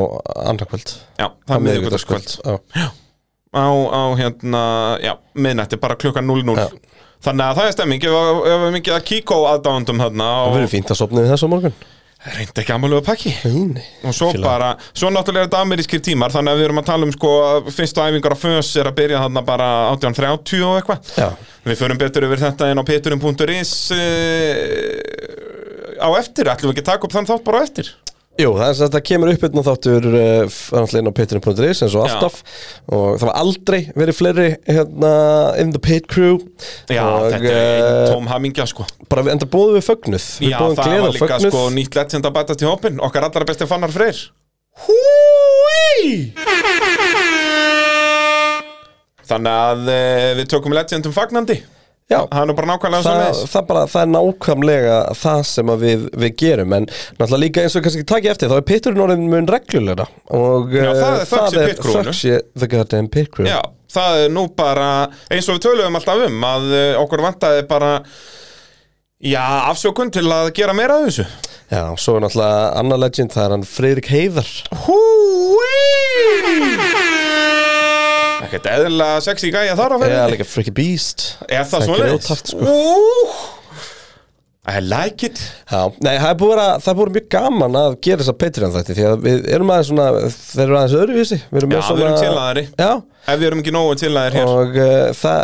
andarkvöld Já, það er miðugutaskvöld Já. á, á hérna, já, miðnætti, bara klukkan 00 Já. Þannig að það er stemming, ef ef við mikið að kíkó aðdándum hérna Það og verður fínt að sopna við þessu á morgun reyndi ekki amalega pakki Nei, og svo Fíla. bara, svo náttúrulega er þetta amerískir tímar þannig að við erum að tala um sko að fyrstu æfingar á FÖS er að byrja þarna bara 18.30 og Já. eitthvað við förum betur yfir þetta en á peturum.is uh, á eftir, ætlum við ekki að taka upp þann þátt bara á eftir Jú, það er sem sagt að kemur upp einn og þáttur eh, Þannig að pitturinn.is eins og Já. alltaf Og það var aldrei verið fleiri hérna, In the pit crew Já, og, þetta er eh, einn tóm hamingja sko Bara við enda bóðum við fögnuð Við Já, bóðum það gleð var og líka fögnuð sko nýtt legend að bætast í hópin okkar allra besti fannar freyr Húi Þannig að uh, við tökum legendum fagnandi Já, Það er nú bara nákvæmlega svo það, það, bara, það er nákvæmlega það sem að við, við gerum En náttúrulega líka eins og kannski takja eftir Þá er pitturinn orðin mun reglulega Og Já, það er eh, þökk sé pit crewinu. þökk sé The goddamn pit crew Já, það er nú bara eins og við töluðum alltaf um að eh, okkur vantaði bara já, afsökun til að gera meira af þessu Já, svo er náttúrulega annar legend, það er hann Freyrik Heiðar Húi Ekkert eðlilega sexy gæja þar á eða ferðinni líka Freaky Beast Er það svona er grjótart, sko. Úh I like it Já, nei, það er búið að, það er búið mjög gaman að gera þess að Patreon þætti því að við erum aðeins svona, þeir eru aðeins öðruvísi Við erum Já, með við svona erum tillaðari Já, Ef við erum ekki nógu til að þér hér og uh, það,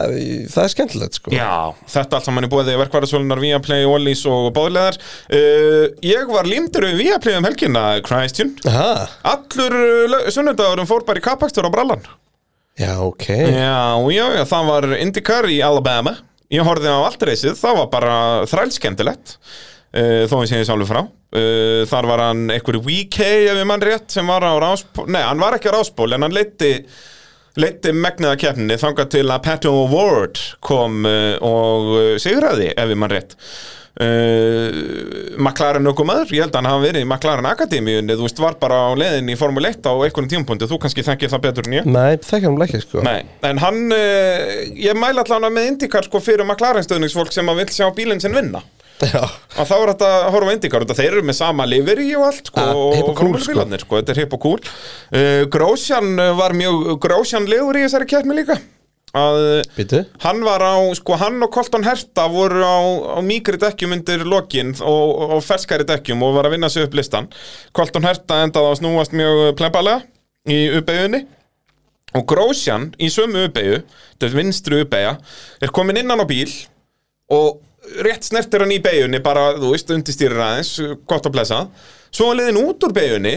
það er skemmtilegt, sko Já, þetta allt saman í bóði verkvarðarsólunar Viaplay, Ollís og Bóðleðar uh, Ég var límdur við Viaplay um helgina, Christian Aha, Allur uh, sunnudagurum fór bara í kappakstur á brallan já, ok Já, já, já, það var IndyCar í Alabama Ég horfði á allt reysið, það var bara þrælskemmtilegt uh, Þó að ég segi sálu frá uh, Þar var hann einhverju VK ef ég mann rétt sem var á rásból Nei, hann var ekki á rásból en hann leiti leiti megniða keppninni þangað til að Patton eh, Ward kom uh, og uh, sigraði ef ég mann rétt uh, McLaren ökumaður, ég held að hann hafa verið í McLaren Akademíunni, þú veist, var bara á leiðin í Formule 1 á einhvern tímpúndi, þú kannski þekkir það betur en ég Nei, þekkja hann ekki sko Nei, en hann, uh, ég mæla allan með IndyCar sko fyrir McLaren stöðningsfólk sem að vill sjá bílinn sinn vinna Já, og þá er þetta að horfa á IndyCar og þeir eru með sama livery og allt sko, Ah, hip og og cool, formule sko. bílarnir, sko, þetta er hip og cool uh, Grósjan var mjög grósjanlegur í þessari keppni líka að býtu Hann var á, sko, hann og Colton Herta voru á, á mýkri dekkjum undir lokin og, og ferskari dekkjum og var að vinna sig upp listan. Colton Herta endaði að snúast mjög plembalega í uppeyjunni og Grósjan í sömu uppeyju, þetta er vinstri uppeyja, er komin innan á bíl og rétt snertir hann í beyjunni bara, þú veist, undirstýrir aðeins, gott að blessa. Svo hann leiðin út úr beyjunni,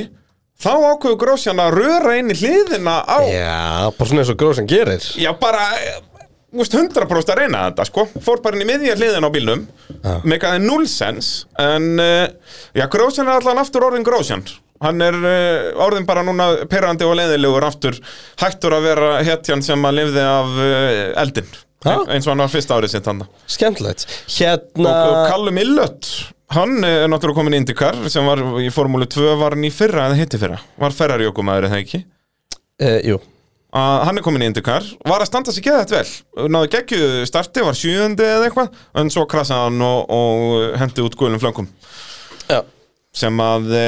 þá ákveður Grósjan að röra inn í hliðina á Já, bara svona eins og gróð sem gerir Já, bara þú veist, 100% að reyna þetta sko fór bara inn í miðja hliðin á bílnum Já. meikaði nullsens en uh, já, Grósjan er allan aftur orðin Grósjan hann er uh, orðin bara núna perandi og leiðilegur aftur hættur að vera hetjan sem að lifði af uh, eldin Ha? eins og hann var fyrsta árið sitt hann og, Skemmtilegt Hérna og Callum Illött hann eh, er náttúrulega komin í IndyCar sem var í Formúlu 2 var hann í fyrra eða hitti fyrra var ferrarjókumæður eða ekki eh, Jú, að hann er komin í IndyCar var að standa sig geðað vel náðu geggju starti, var sjöundi eða eitthvað en svo krasaði hann og, og hendi út gulum flöngum já sem að e,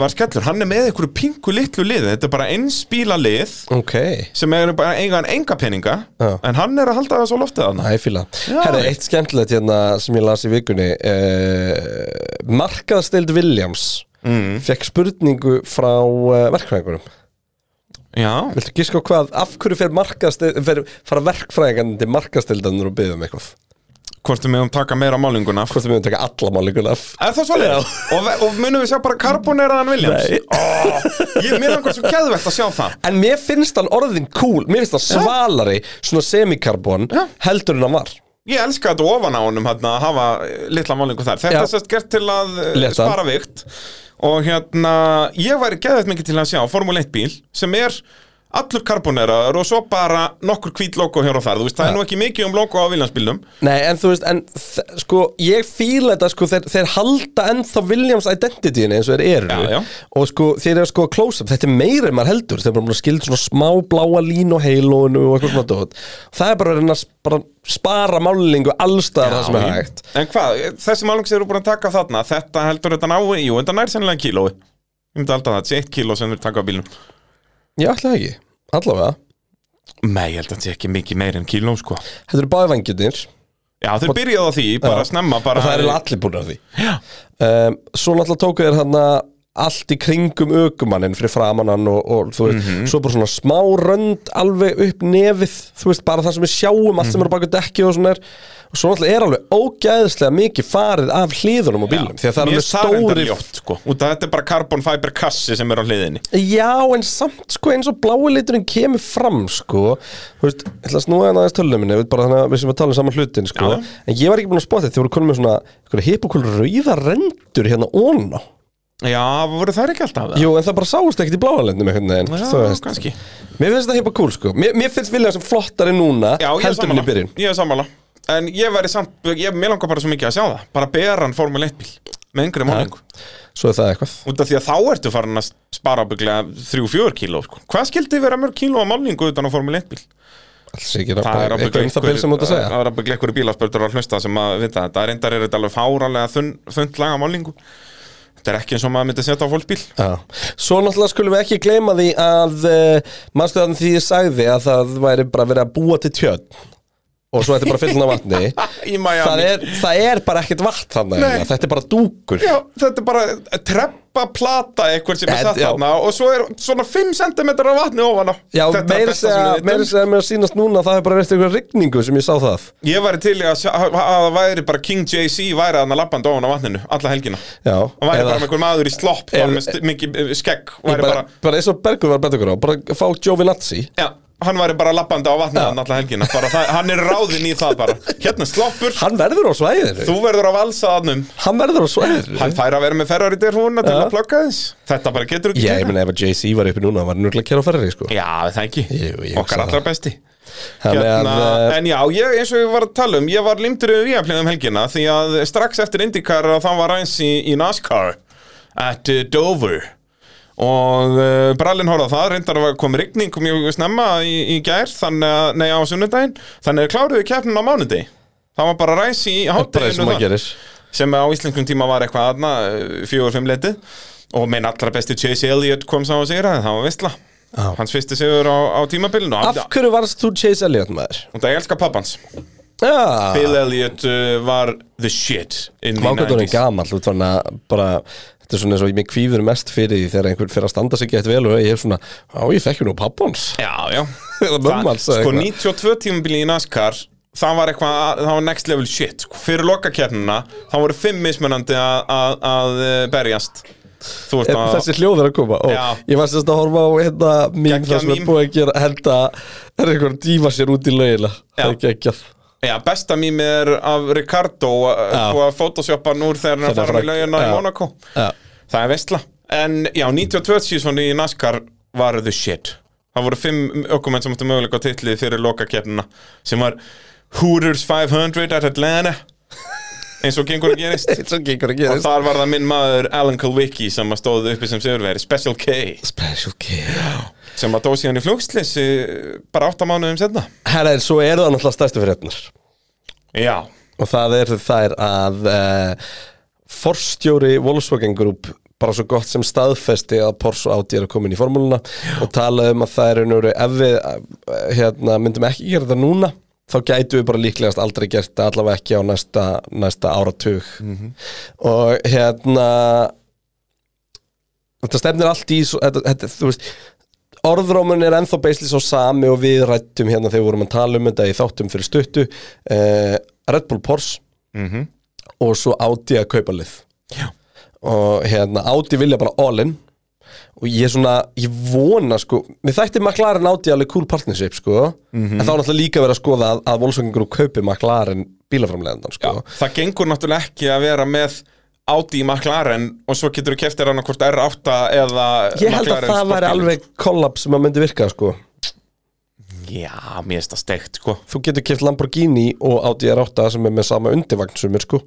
var skellur hann er með einhverju pinku litlu liði þetta er bara eins bíla lið Ok, sem er bara eiga hann enga peninga Já. en hann er að halda það svo loftið hann það er fíla Já. Herra, eitt skemmtilegt hérna sem ég las í vikunni eh, Markaðstild Williams mm. Fekk spurningu frá eh, verkfræðingunum já, Viltu gíska á hvað, af hverju fer markaðstild fer, fara verkfræðingarnir til markaðstildanur og byggðum eitthvað hvort við mögum taka meira málinguna Hvort þau mögum taka alla málinguna af Er það svolítið? Og, ve- og munum við sjá bara karboneraðan Williams? Nei. Ó, ég, mér langar svo geðvegt að sjá það En mér finnst hann orðin cool, mér finnst hann svalari, svona semikarbon, Já. heldur en hann var. Ég elska þetta ofan á honum hérna, að hafa eh, litla málingu þar Þetta Já. er sérst gert til að eh, Létta. spara vikt Og hérna, ég væri geðvægt mikið til að sjá Formule 1 bíl sem er allur karboneraður og svo bara nokkur hvít logo hér og þar Þú veist, það er nú ekki mikið um logo á viljansbílnum Nei, en þú veist, en þ- sko, ég fíla þetta, sko, þeir, þeir halda ennþá Williams identityin eins og þeir eru. Já, já. Og sko, þeir eru sko close-up, þetta er meira en maður heldur, þeir eru bara búin að skilja svona smá bláa lín og heilónu og eitthvað svona dót. Það er bara að reyna að sp- bara spara málingu allstaðar það sem er hægt. En hvað, þessi málingu sem eru búin að taka þarna Þetta heldur þetta nái, jú, þetta nær sennilega kílói Ég myndi alltaf það, þetta sé eitt kíló sem við taka á bílnum Ég ætla það ekki, allavega. Nei, ég held að þetta sé ekki mikið meir en kíló, sko Þetta eru báði vangirnir. Já, þeir byrjaði á því, bara snemma bara, og það eru allir búin að því um, svo náttúrulega tóku þér hann allt í kringum ökumanninn fyrir framannan og, og þú veist, Mhm. svo bara svona smá rönd alveg upp nefið þú veist, bara það sem við sjáum, allt sem Mhm. er á baku dekki og svona er, og svo náttúrulega er alveg ógæðislega mikið farið af hliðunum og bílum, því að það er Mér alveg finnst það reyndar stóri ljótt, sko. Út að þetta er bara carbon fiber kassi sem er á hliðinni Já, en samt sko eins og blái liturinn kemur fram sko Þú veist, ég ætla að snúa hann aðeins tölunum minni Bara þannig að við sem að tala um saman hlutin sko Já. En ég var ekki búin að spotta þetta Þið voru konum með svona einhverja hippokul rauða rendur hérna óná Já, voru þær ekki alltaf það? Jú, en það bara sáust ekkert í bláa lendum einhvern veginn Já, þú veist. kannski Mér finnst þetta hippokul sko Mér, mér finnst vilja sem flottari núna Já, ég er Heldur minni í sammála byrjun Ég er sammála En ég væri samt, ég mér langar bara svo mikið að sjá það Bara beran Formule 1 bíl Með yngri málingu Svo er það eitthvað Út af því að þá ertu farin að spara bygglega 3-4 kíló sko. Hvað skildi vera mörg kíló á málingu utan á Formule 1 bíl? Alls ekki er Það er bara að eitthvað um það byrjun sem út að segja Það er að bygglega einhverju bílaspöldur að hlusta sem að vita þetta Reyndar er þetta alveg fáralega þunn, þunn laga málingu Þetta er ekki eins og maður myndi setja á fólksbíl Já. Svo náttúrulega skulum við ekki gleyma því að uh, mannstu þannig því ég sagði að það væri bara verið að búa til tjörn og svo þetta er bara fyllin á vatni Í Miami það, er, það er bara ekkert vatn þannig Nei. þetta er bara dúkur Já, þetta er bara treppa plata eitthvað sem er Þetta- satt já. þarna og svo er svona 5 cm af vatni ofan á Já, Þetta er meira besta sem við segja- vitum. meira segja að mér að sýnast núna að það hefur bara verið eitthvað rigningu sem ég sá það Ég væri til í að, sjá- að það væri bara King JC væri þarna lappandi ofan á vatninu alla helgina Já, Hann væri eða- bara með einhver maður í slopp Eða- bara með st- mikið eh, skegg Ég væri bara, bara eins og Bergur var að betta okkur á bara fá Giovinazzi Já, hann væri bara lappandi á vatninu þarna alla helgina bara, það, Hann er ráðinn í það bara Hérna sloppur, hann verður á svæðinu þú verður að valsa þannum hann verður á svæðinu Hann fær að vera með ferrar í derhúna til Já. að plugga þess Þetta bara getur Já, ekki ég gera. Hérna, meina ef að JC var uppi núna var hann nörgulega að kera á ferri sko. Já, það ekki Jú, ég hugsa Okkar það. allra besti Þannig að, Hérna, eh, en já, ég, eins og ég var að tala um, ég var limtur við viðaflið um helgina því að strax eftir IndyCar að það var eins í, í NASCAR at uh, Dover og uh, Brallin horfði á það, reyndar að kom rigning mjög snemma í, í gær, þannig að, nei á sunnudaginn, þannig að kláruðu keppnin á mánudegi. Það var bara ræs í bara eins og maður hátteginu gerir sem á íslenskum tíma var eitthvað eh, aðna, fjögur-fimm letið og minn allra besti Chase Elliott kom sá að segja það, það var vistla. Já. Hans fyrsti sigur á, á tímabilinu. Af Af... hverju varst þú Chase Elliot maður? Og það elskar pappans. Já, Bill Elliot uh, var the shit in the mákvæmdurinn 90s gamall Þú ert svona bara Þetta er svona eins og ég mér kvíður mest fyrir því þegar einhver fyrir að standa sig gett vel og ég er svona, á ég þekki nú pappans Já, já eða það, mömmans Sko 92 tímabili í NASCAR Það var eitthvað, það var next level shit sko. Fyrir lokakeppnina, það voru fimm mismunandi að- að að, eh, berjast Þú veist að Eh, þessi hljóð er að koma og Já. ég var sérst að horfa á hérna mím Geggjað þar sem er mím. búið að gera henda það er einhver að dýfa sér út í laugina það er Já. geggjað Já, besta mými er af Ricardo Já. og að photoshoppa núr þegar hann er Þegar að hann- fara með laugina í já. Monaco Já. Það er veistla En já, 92 síðan í NASCAR var the shit Það voru fimm ökumenn sem áttu möguleika á titlið fyrir lokakeppnina sem var Hooters 500 at Atlanta eins og gengur að gerist eins og gengur að og gerist þar var það minn maður Alan Kulwicki sem að stóðu uppi sem sigurveri Special K Special K sem að dó síðan í flugslissi bara 8 mánuðum setna Herra, en svo eru það náttúrulega stærstu fréttnar Já, og það er þær að uh, forstjóri Volkswagen Group bara svo gott sem staðfesti að Porsche og Audi eru komin í formúluna og talaði um að það eru nöru ef við eh, hérna, myndum ekki gera þetta núna þá gætu við bara líklegast aldrei gert þetta allavega ekki á næsta, næsta áratug og hérna þetta stefnir allt í svo, þetta, þetta, þú veist Orðrómun er ennþá beisli svo sami og við rættum hérna þegar við vorum að tala um þetta í þáttum fyrir stuttu uh, Red Bull Porsche Mhm. og svo Audi að kaupa lið Já. og hérna Audi vilja bara all in og ég svona, ég vona sko mér þætti McLaren Audi alveg cool partnership sko, en þá er náttúrulega líka verið að skoða að, að Volkswagen Group kaupi McLaren bílaframlegandan sko það gengur náttúrulega ekki að vera með Audi í McLaren og svo getur þú keftir hann hvort R8 eða Ég held að það væri alveg kollaps sem að myndi virka sko Já, mér finnst það steikt, sko Þú getur keft Lamborghini og Audi R8 sem er með sama undirvagnsumir sko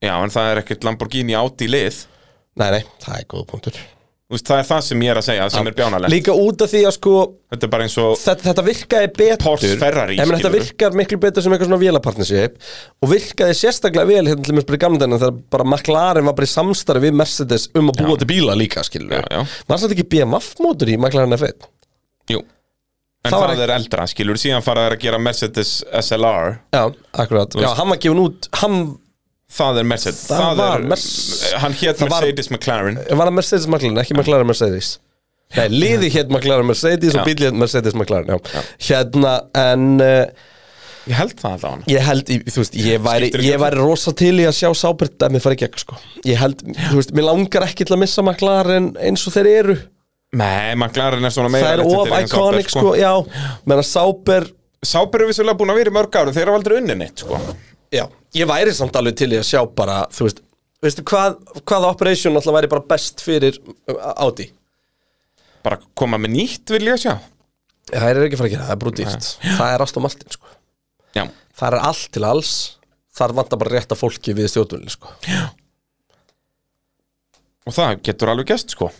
Já, en það er ekkert Lamborghini Audi lið Þú Nei, nei, það er góð punktur veist, Það er það sem ég er að segja, sem er bjánalegt Líka út af því að sko Þetta er bara eins og þetta, þetta virkaði betur Porsche, Ferrari, Ég meina, Þetta skilurðu. virkar miklu betur sem eitthvað svona vélapartnership og virkaði sérstaklega vel hérna til mér spyrir gamla denna þegar bara McLaren var bara í samstarfi við Mercedes um að búa til bíla líka skilur Já, já. Var þetta ekki BMW mótur í McLaren F1? Jú Það En það, var ekki- er eldra, skilur, síðan fara þær að gera Mercedes SLR Já, akkurat Já, hann var gefin út, hann Það er Mercedes Það var er, Merce- Hann Það hét var- Mercedes McLaren var það Mercedes McLaren, ekki McLaren Mercedes Nei, liði hétt McLaren Mercedes og Já. bíli hétt Mercedes McLaren, já. Hérna, en uh, Ég held það alltaf hann Ég held, í- þú veist, ég væri, Skiptir ekki ég væri rosa til í að sjá sábært að mér fara í gegn, sko Ég held, þú veist, mér langar ekki til að missa McLaren eins og þeir eru Nei, McLaren er svona meira Það er lettandi of en Sauber, iconic, sko, já Menna sábær, Sauber er vissulega búin að vera í mörg ára Þeir eru aldrei unni neitt, sko já Ég væri samt alveg til í að sjá bara, þú veist Veistu, hvað, hvaða operation alltaf væri bara best fyrir uh, Audi? Bara koma með nýtt, vil ég sjá Það er ekki að fara að gera, það er brúdýrt Það er Aston Martin, sko Já, Það er allt til alls Þar vantar bara rétta fólki við stjórnvölinn, sko og það getur alveg gæst, sko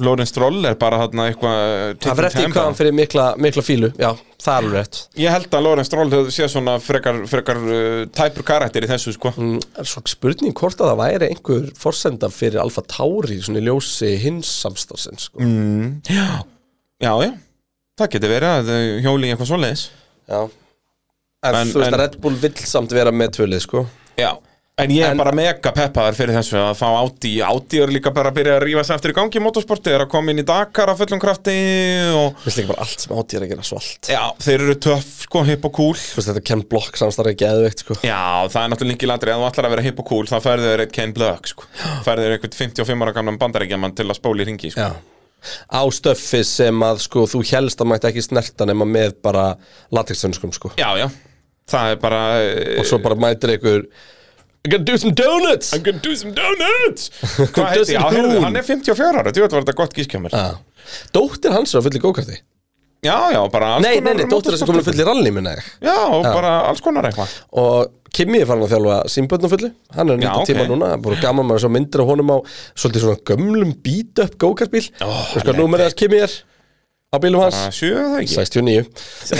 Lorenz Stroll er bara þarna eitthvað eh, Það verður taking eftir time hvað hann fyrir mikla, mikla fílu, já, það er alveg rétt Ég held að Lorenz Stroll höfðu sé svona frekar, frekar uh, tæpur karakter í þessu, sko Mm, er Svo spurning hvort að það væri einhver forsenda fyrir Alfa Tauri svona í ljósi hins samstarfsins sko. Já, já, það getur verið að þau hjóli í eitthvað svoleiðis Já En, En- þú veist en- að Red Bull vill samt vera með tvölið sko Já, en ég er En- bara mega peppaðar fyrir þessu að fá Audi Audi er líka bara að byrja að rífa sig eftir í gangi í motorsporti, er að koma inn í Dakar af fullum krafti og Vist ekki bara allt sem átíð er að gera svo allt já, þeir eru töff, sko, hipp og cool Þú veist þetta Ken Block samstarf er geðveikt sko Já, það er náttúrulega líkið landri, ef þú ætlar að vera hipp og cool þá færðu þér eitt Ken Blöck, sko færðu þér eitthvað 55 ára gamlan bandaríkjaman til að spóli ringi, sko Já Á stöffi sem að sko þú helst að mætti ekki snerta nema með bara latexsönskum sko Já, já, það er bara eh, Og svo bara mætir einhver I'm gonna do some donuts I'm gonna do some donuts Do Hvað heiti, some já, heyrðu, donuts. Ah. hann er 54 ára, þú veit var þetta gott gískjámar Já Dóttir hans er á fulli gókarti já, já, bara alls Nei, nei, nei, konar dóttir þess að komin Ah. að fulli ralli minna ég Já, bara alls konar eitthvað Og Kimi er farin að þjálfa símbötnum fullu Hann er að Já, nýta ok. tíma núna Búin gaman maður svo myndir af honum á Svolítið svona gömlum beat-up go-kartbíl Ó, Ah. Þú veist hvað númerið að Kimi er Á bílum hans Bara Sjö það ekki 69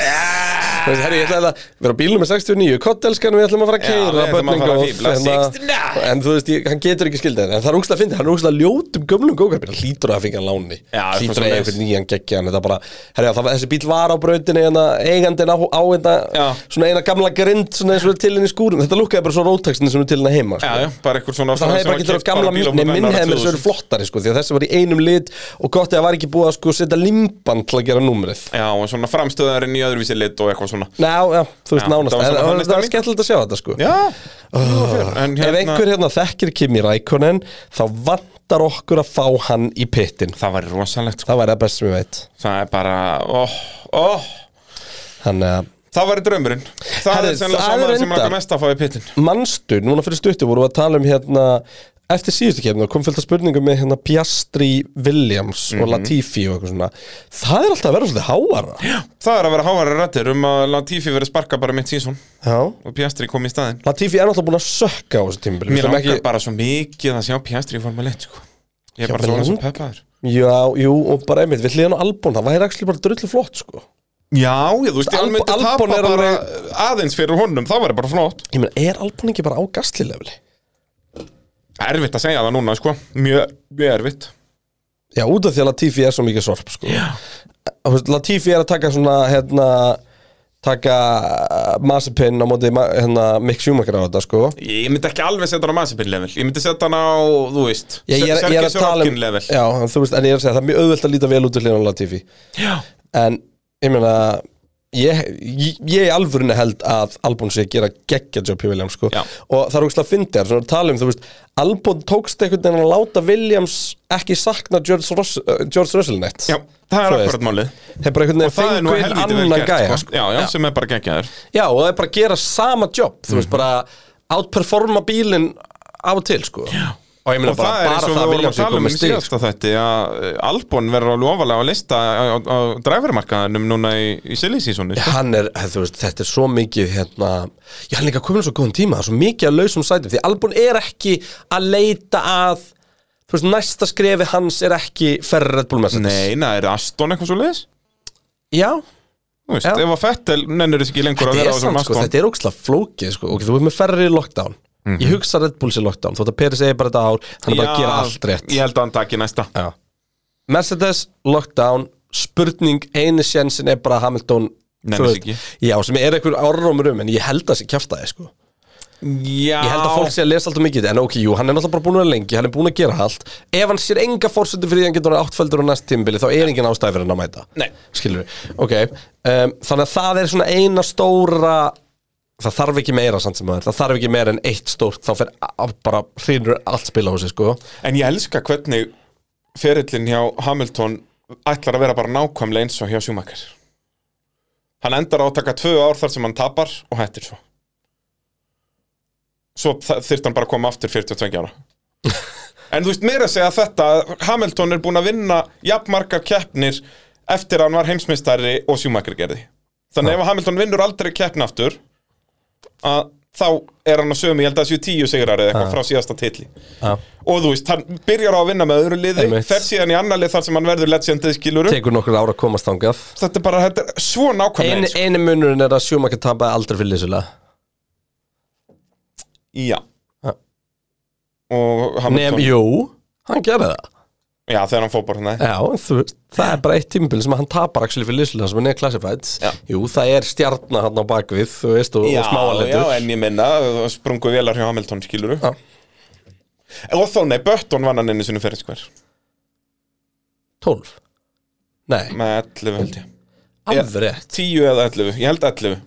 Þú veist, herri, ég ætlaði að vera á bílum með 69 Kottelskan við ætlum að fara að Já, við keira ætlum að fara að fífla, 69. hérna- En þú veist, ég, hann getur ekki skildið En það er úkslega að finna, hann er úkslega ljótum gömlum gókarbíl Hann hlýtur að fengja hann láni Já, Hlýtur að eitthvað eiga svoleiðis. einhvern nýjan geggja hann Þetta bara, herri, já, það, var- þessi bíl var á brautinni hérna, Eigandinn á, á hérna, Já. svona eina gamla grind Svona eins og er til henni í skúrin Þetta lúkkaði bara svo rótaksinni sem er til henni heima Já, sko. já, bara eitthvað svona Það hefði bara ekki þurft gamla Nei, minn hefði með þessu verið flottari sko, Því að þessi var í einum lit Og gott eða var ekki búið að sko, setja limband til að gera númerið Já, og svona framstöðarinn í öðruvísi lit og eitthvað svona Já, já, þú veist Já, nánast það var En það svona var, þannig það var stemning. skemmtilegt að sjá þetta sko Já, en Ef einhver hérna þekkir Kimi Rækonen þá vantar okkur að fá hann í pittin Það væri rosalegt, sko Það væri það best sem ég veit Það er bara, óh, óh Þannig að Það væri draumurinn Það Herri, er sennilega það er saman sem reyndar. langar mest að fá í pittin mannstu, núna fyrir stuttu vorum við að tala um hérna eftir síðustu kemna kom fullt af spurningum með hérna Piastri Williams Mhm. og Latifi og eitthvað svona Það er alltaf að vera svolítið háara Það er að vera háværi rættir um að Latifi verið sparka bara mitt sísón Já og Piastri kom í staðinn Latifi er alltaf búin að sökka á þessu tímbil Mér langar bara svo mikið að sjá Piastri í Formule 1 sko. Ég Já, er bara svona mig svo lang- peppaður Já, jú, og bara einmitt, við hliðan á Albon það væri ekki bara drullu flott sko Já, ég, þú veist, ég Alb- almennt að tapa Albon er bara alveg- aðeins fyrir honum, það væri bara flott Ég meina, er Albon ekki bara á gastlilefli? Erfitt að segja það núna, sko, mjög, mjög erfitt Já, út af því að Latifi er svo mikið sorp sko. Þú veist, Latifi er að taka svona hérna, taka Masipin á móti Ma- hérna, Mick Schumacher á þetta sko. Ég myndi ekki alveg setja hann á Mazepin level Ég myndi setja hann á, þú veist Já, ég, er, ég er að tala um level já, en þú veist, en ég er að segja, það er mjög auðvelt að líta vel út af hlýðan á Latifi Já, en ég meina ég, ég, ég í alvörinu held að Albon sé að gera geggja jobb hjá Williams sko. Já. og það er ógst að fyndi þér tala um, þú veist, Albon tókst einhvern veginn að láta Williams ekki sakna George, Ross, uh, George Russell neitt já það er Þú veist. akkurat málið þeir bara einhvern veginn Og það er nú fengu inn helvítið vel annan gert, gæja sko. Já, já, sem er bara geggjaður Já, og það er bara að gera sama jobb Þú Mhm. veist, bara outperforma bílinn á og til, sko Já. Og ég meina Og það bara, er bara eins og það við að vorum vilja að sig tala um komið í stíl síðasta þetta að eh, Albon verður alveg ofalega á lista á, á, á dræfurmarkaðanum núna í, í silly seasoni sko. Hann er, eh, þú veist, þetta er svo mikið hérna, já, hann er líka komin á svo góðan tíma það er svo mikið að lausum sætum, því Albon er ekki að leita að þú veist, næsta skrefi hans er ekki ferri Red Bull Mercedes Nei, na, er Aston eitthvað svo leiðis? Já, Þú veist, Já. ef að Fettel nennir þess ekki lengur þetta að er vera á þessum samt, sko, Aston þetta er óksla flókið, sko ok, þú veist með ferri lockdown Mhm. ég hugsa Red Bull sér lockdown, þótt að Peri segir bara þetta ár hann er bara að gera allt rétt Ég held að hann taki næsta Já. Mercedes, lockdown spurning, einu sjensin er bara Hamilton Nei, þú nei, veist. ekki. Já, sem er einhver árómur um en ég held að það sé kjafta sko. Já ég held að fólk sé að lesa alltaf mikið en ok, jú, hann er náttúrulega bara búin að vera lengi, hann er búin að gera allt ef hann sér enga fórsöndu fyrir því að hann getur áttfældur á næst tímbili, þá er engin ástæði fyrir hann að mæta Nei. skilur við, ok um, þannig að það er svona eina stóra það þarf ekki meira samt sem aður það þarf ekki meira en eitt stórt þá fer a- bara hrýnur allt spila á sig sko. En ég elska hvernig ferillin hjá Hamilton ætlar að vera bara nákvæmlega eins og hjá Schumacher Hann endar á að taka tvö ár þar sem hann tapar og hættir svo Svo þyrft hann bara að koma aftur 42 ára En þú veist meira að segja þetta að Hamilton er búin að vinna jafnmargar keppnir eftir að hann var heimsmeistari og Schumacher gerði Þannig ef að Hamilton vinnur aldrei keppn aftur að þá er hann að sömu, ég held að það séu tíu sigrar eða eitthvað frá síðasta titli ja. og þú veist, hann byrjar á að vinna með öðru liði Einmitt. fer síðan í annar lið þar sem hann verður legendið skiluru tekur nokkur ára að komast þangað þetta er bara, þetta er svo nákvæmlega Einu, eins einu munurinn er að Schumacher tapaði aldrei fyrir Lissulega já Ha. og Nefn, Hamilton, jú, hann gerði það já þegar hann fór bara hérna Já, þú veist, það er bara eitt tímabil sem hann tapar actually fyrir Lissulega sem hann er classified Já. Jú, það er stjarnar hann á bakvið, þú veist, og, og já, smáalendur en ég minna, sprungu velar hjá Hamilton skiluru Já. og þó nei, Bötton vann hann einu sinni fyrir skver 12 Nei, með 11 held ég, alveg rétt 10 eða 11, ég held 11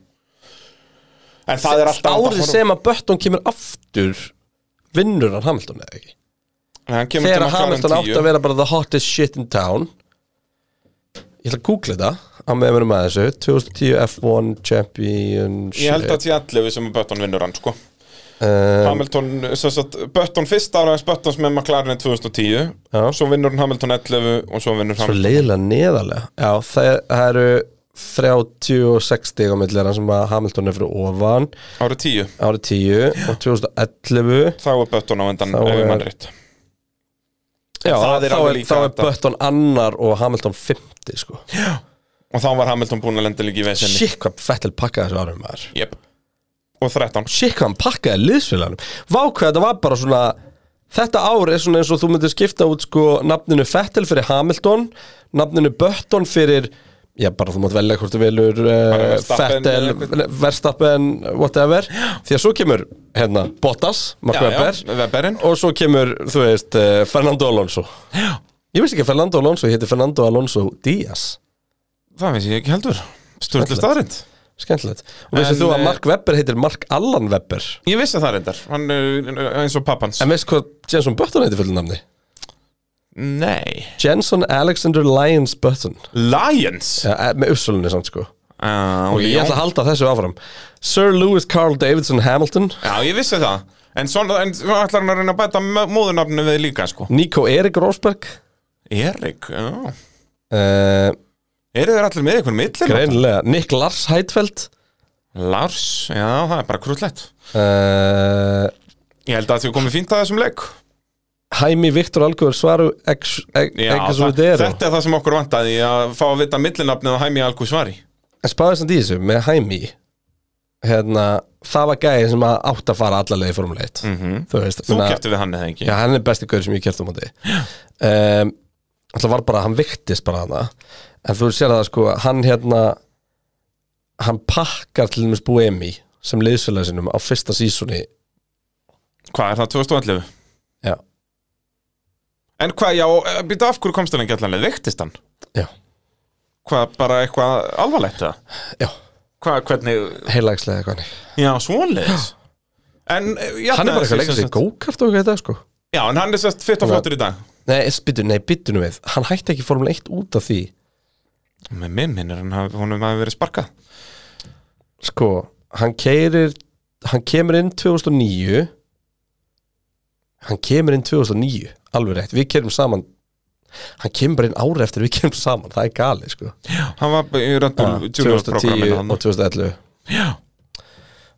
en það er alltaf Árið sem að Bötton kemur aftur vinnur hann Hamilton eða ekki Þegar Hamilton átti að vera bara the hottest shit in town Ég ætla að googla þetta á meðan við erum að þessu 2010 F1 Championship Eh, Ég held að til allu sem Bötton vinnur hann sko Hamilton, sem sagt, Button fyrst ára hans Buttons með McLaren 2010 Já. svo vinnur hann Hamilton 11 og svo vinnur Svo Hamilton leiðilega neðarlega Já, það, er- það eru 36 stig á milli þeirra sem að Hamilton er fyrir ofan árið 10 árið 10 og 2011 þá er Button á endan Þá ef er- ég mann rétt Já, það er þá alveg er, líka þá er þetta. Button annar og Hamilton 50 sko. og þá var Hamilton búin að lenda líka í vesenni Shit hvað Fettel pakkaði þessu árum maður yep. og 13 Shit hvað hann pakkaði liðsfélagunum Vá hvað þetta var bara svona Þetta ár er svona eins og þú myndir skipta út sko nafninu Fettel fyrir Hamilton nafninu Button fyrir Já, bara þú mátt velja hvort þú velur uh, Verstappen Fettel, eða Verstappen, whatever Því að svo kemur, hérna, Bottas, Mark Já, já, Webber Webberinn. Og svo kemur, þú veist, uh, Fernando Alonso Já. Ég veist ekki að Fernando Alonso héti Fernando Alonso Díaz það finnst ég ekki heldur störtlu staðrind Skemmtilegt Og vissið En, þú að eh, Mark Webber heitir Mark Allan Webber ég vissi það reyndar, hann er eins og pappans En veist hvað Jenson Button heitir fullu nafni? nei, Jenson Alexander Lyons Button Lions ja, eh, Með ussulunni samt sko Ah, og Og ég Lyon. ætla að halda þessu áfram Sir Lewis Carl Davidson Hamilton Já, ég vissi það En svona, en svo ætlar hann að reyna að bæta mö- móðurnafninu við líka, sko Nico Erik Rosberg Erik, já uh, Eru þeir allir með einhvern millir? Greinilega Nick Lars Heitfeld Lars, já, það er bara krúllett uh, Ég held að þið komið fínt að þessum leik Jaime Viktor Algur Svaru Ex- Ex- já, það, Exudero Þetta er það sem okkur vantaði að fá að vita millinafnið og hæmi algu svari En spáðið samt í þessu með Jaime Hérna Það var gæði sem að átt að fara allarlega í formuleitt mm -hmm. Þú veist Þú þannig að- kefti við hann eða ekki Já, hann er besti gaur sem ég kert á móti um, Það var bara, hann viktist bara hana En þú sér það sko, hann hérna Hann pakkar til dæmis Buemi Sem liðsfélag sinum á fyrsta sísunni Hvað er það, 2011? Já, En hvað, já, eh, býta af hverju komst hann ekki allan leið? Veiktist hann? já, Hvað, bara eitthvað alvarlegt það? já Hvað, hvernig, Heilagslega eitthvað hannig já, svonleis En, eh, já, Hann er bara eitthvað leikast í go-kart og eitthvað í dag, sko Já, en hann er sérst fitt og flottur í dag Nei, spytu, nei, byttu nú við Hann hætti ekki Formule 1 út af því Með minn minnir hann hafi, honum hafi verið sparkað Sko, hann keirir Hann kemur inn 2009 Hann kemur inn 2009 Alveg rétt, við kerum saman Hann kemur bara inn ári eftir við kerum saman Það er galið, sko Hann var í Red Bull Junior 2010 programminu hann og 2011 Já,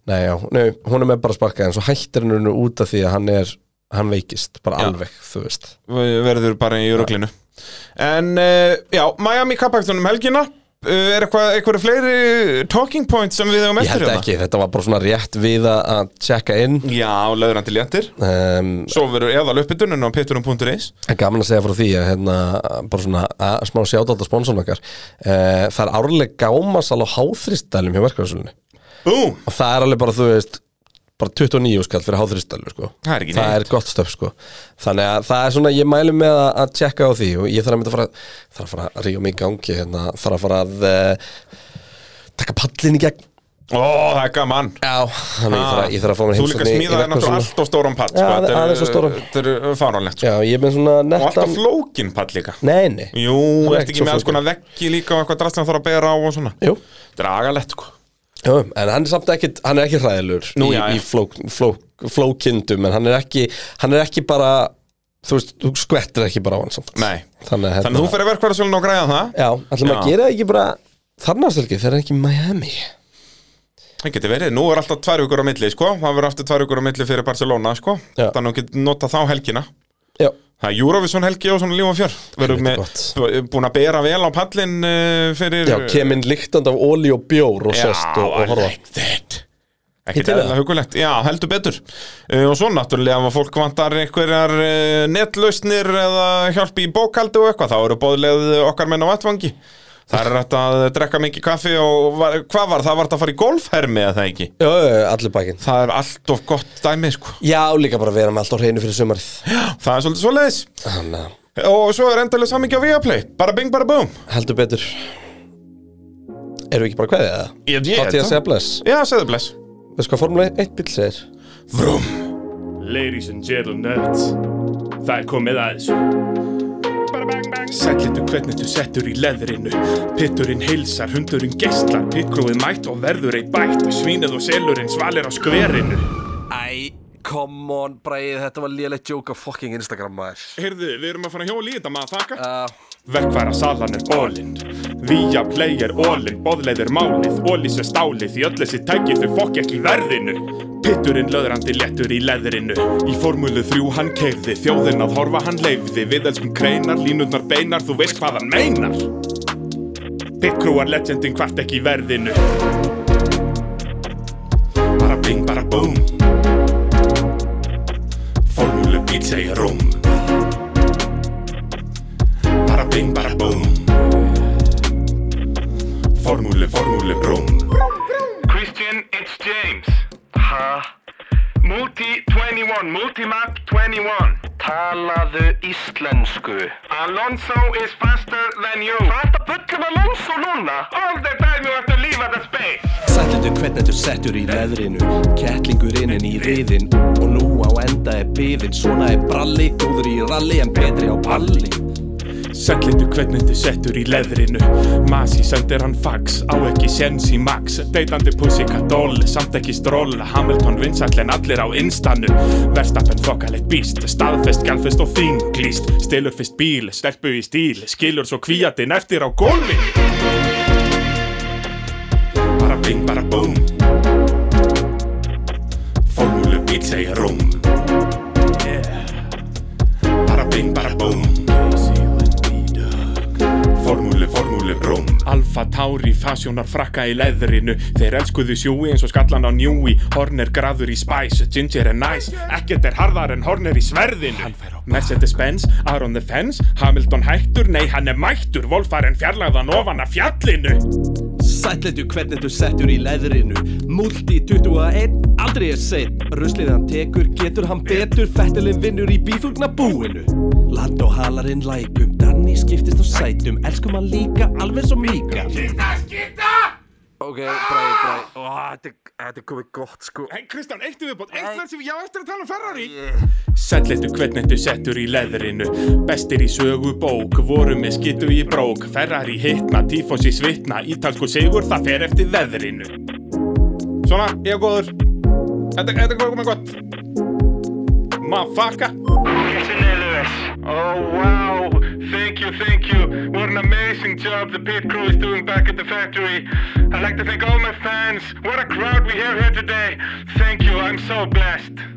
Nei, já, nei, hún er með bara sparkað En svo hættir hann nú út af því að hann er Hann veikist, bara Já. alveg, þú veist verður bara í Euroglinu En, uh, já, Miami kappaktunum helgina uh, Er eitthvað, eitthvað fleiri talking points sem við hefum Ég eftir hérna? held ekki, þetta var bara svona rétt við að- að tjekka inn Já, löður hann til jættir um, Svo verður eða löpidunum á pitturum.is En gaman að segja frá því að hérna, bara svona að, smá sjátátt á spónsorn okkar e, Það er árlega gámasal á háþristælum hjá verkefnarsulunni Búm, Og það er alveg bara, þú veist, bara 29 skall fyrir háþristælu, sko það er ekki Það neitt er gott stöf, sko Þannig að það er svona, ég mælu með að, að tjekka á því Og ég þarf að mynda að fara, þarf að fara að ríða mig í gangi hérna, Þarf að fara að e, taka pallin í gegn Ó, það er gaman Já, þannig að ég þarf að, ég þarf að fá mér Ah, Þú líka heimsókn í- í smíða það verkfærsluna. náttúrulega allt á stóran pall Já, sko. Þetta er- aðeins of stóran. Þetta er fáránlegt sko. Já, ég er með svona Og alltaf nettan flókin pall líka Nei, nei, Jú, Hann er ertu ekki ekki svo með alls flókin. konar veggi líka og eitthvað drast sem það þarf að bera á og svona jú Dragalett, sko Já, en hann er samt ekkit, hann er ekki hræðilur Nú, í, já, já. í flók, flók, flókindum en hann er ekki, hann er ekki bara þú veist, þú skvettir ekki bara á hann samt Nei. þannig að Þannig að þú fyrir verkvarðarsölun og græða það Hérna. Já, ætlum að Já. gera ekki bara þarnarstelgi þegar það er ekki í Miami Það getur verið, nú er alltaf tvær vikur á milli, sko Það verður aftur tvær vikur á milli fyrir Barcelona, sko Já. Þannig að þú getur nota þá helgina Já, Það er Eurovision helgi og svona líf og fjör Verður Helviti með, búin að bera vel á pallin uh, fyrir já keminn líktand af óli og bjór og Já, sest og, og I horfa like that til Ekki það. eðlilega hugulegt, já, heldur betur uh, Og svo náttúrulega ef að fólk vantar einhverjar uh, netlausnir eða hjálpi í bókaldi og eitthvað þá eru bóðlegð okkar menn á vettvangi Það er rætt að drekka mikið kaffi og var, hvað var það? Var það að fara í golfhermi eða það ekki? Já, já, já, allir bakinn Það er allt of gott dæmi, sko Já, líka bara vera með allt á hreinu fyrir sumarið Það er svolítið svoleiðis Þannig að Og svo er endalega samingi á Viaplay Bara bing, bara boom heldur betur Erum við ekki bara kveðið það? Ég, ég, Þátti ég að segja bless Já, segðu bless Veist hvað formule 1 bíl segir? Vrum Ladies and gentlemen Það er komið að þessu Sætlitu hvernig þú settur í leðrinu Pitturinn heilsar, hundurinn geistlar Pittgrúið mætt og verður ei bætt Svínið og selurinn svalir á skverinu Æ, come on, Bræði, þetta var léleitt joke á fucking Instagram maður Heyrðu, við erum að fara að hjóla í þetta maður, þakka uh, Verkfæra salan er ólinn Vía play er ólinn Bóðleið er málið, ólís er stálið Í öll þessi tækir þau fokk ekki í verðinu Pitturinn löðrandi léttur í leðrinu Í formúlu þrjú hann keirði Þjóðin að horfa hann leifði Við elskum kreinar, línundar beinar Þú veist hvað hann meinar Pitkrúar legendin hvart ekki í verðinu Bara bing, bara búm Formúlu bíl segir rúm Bara bing, bara búm Formúlu, formúlu, rúm Christian, it's James. Ha? Multi 21, Multimap 21. Talaðu íslensku. Alonso is faster than you. Hvað ert að bulla með Alonso núna? All the time you have to leave at the space. Sætlutu hvernig þú settur í leðrinu Kettlingurinn inn í riðin Og nú á enda er bifinn Svona er bralli, góður í ralli En betri á palli Sællindu hvernig þið settur í leðrinu Masi sendir hann fax, á ekki sens í max Deitandi pussikadól, samt ekki stról Hamilton vinsall en allir á instanu Verstappen þokkalegt býst, staðfest, galfest og þinglýst Stilur fyrst bíl, stelpu í stíl Skilur svo kvíatinn eftir á gólfi Bara bing, bara búm Formúlu bíl segir rúm Yeah Bara bing, bara búm Formúlu, formúlu, rúm Alfa Tauri, fasjónar frakka í leðrinu Þeir elskuðu sjúi eins og skallan á njúi Horner graður í spice, ginger er nice Ekkert er harðar en Horner í sverðinu Mercedes-Benz, Aron the Fence Hamilton hættur, nei hann er mættur Volfaren fjarlagðan ofan af fjallinu Sætlutu hvernig þú settur í leðrinu Multi 21, aldrei er seitt Ruslið hann tekur, getur hann betur Fettilinn vinnur í bífugna búinu Land og halarinn lækum Danni skiptist á sætum Elskum hann líka, alveg svo mýka Ok, Bræði, Bræði Ó, þetta er- þetta er komið gott sko Hei, Ah! Kristján, eitt í viðbót, eitt verð sem ég á eftir að tala um Ferrari Sætletu hvernig þú settur í leðrinu Bestir í sögu bók Voru með skitu í brók Ferrar í hitna, tífons í svitna Ítalsku sigur það fer eftir veðrinu Svona, ég er góður Þetta þetta er komið gott Mafaka Christian Elvis. Oh wow. Thank you, thank you. What an amazing job the pit crew is doing back at the factory. I'd like to thank all my fans. What a crowd we have here today. Thank you. I'm so blessed.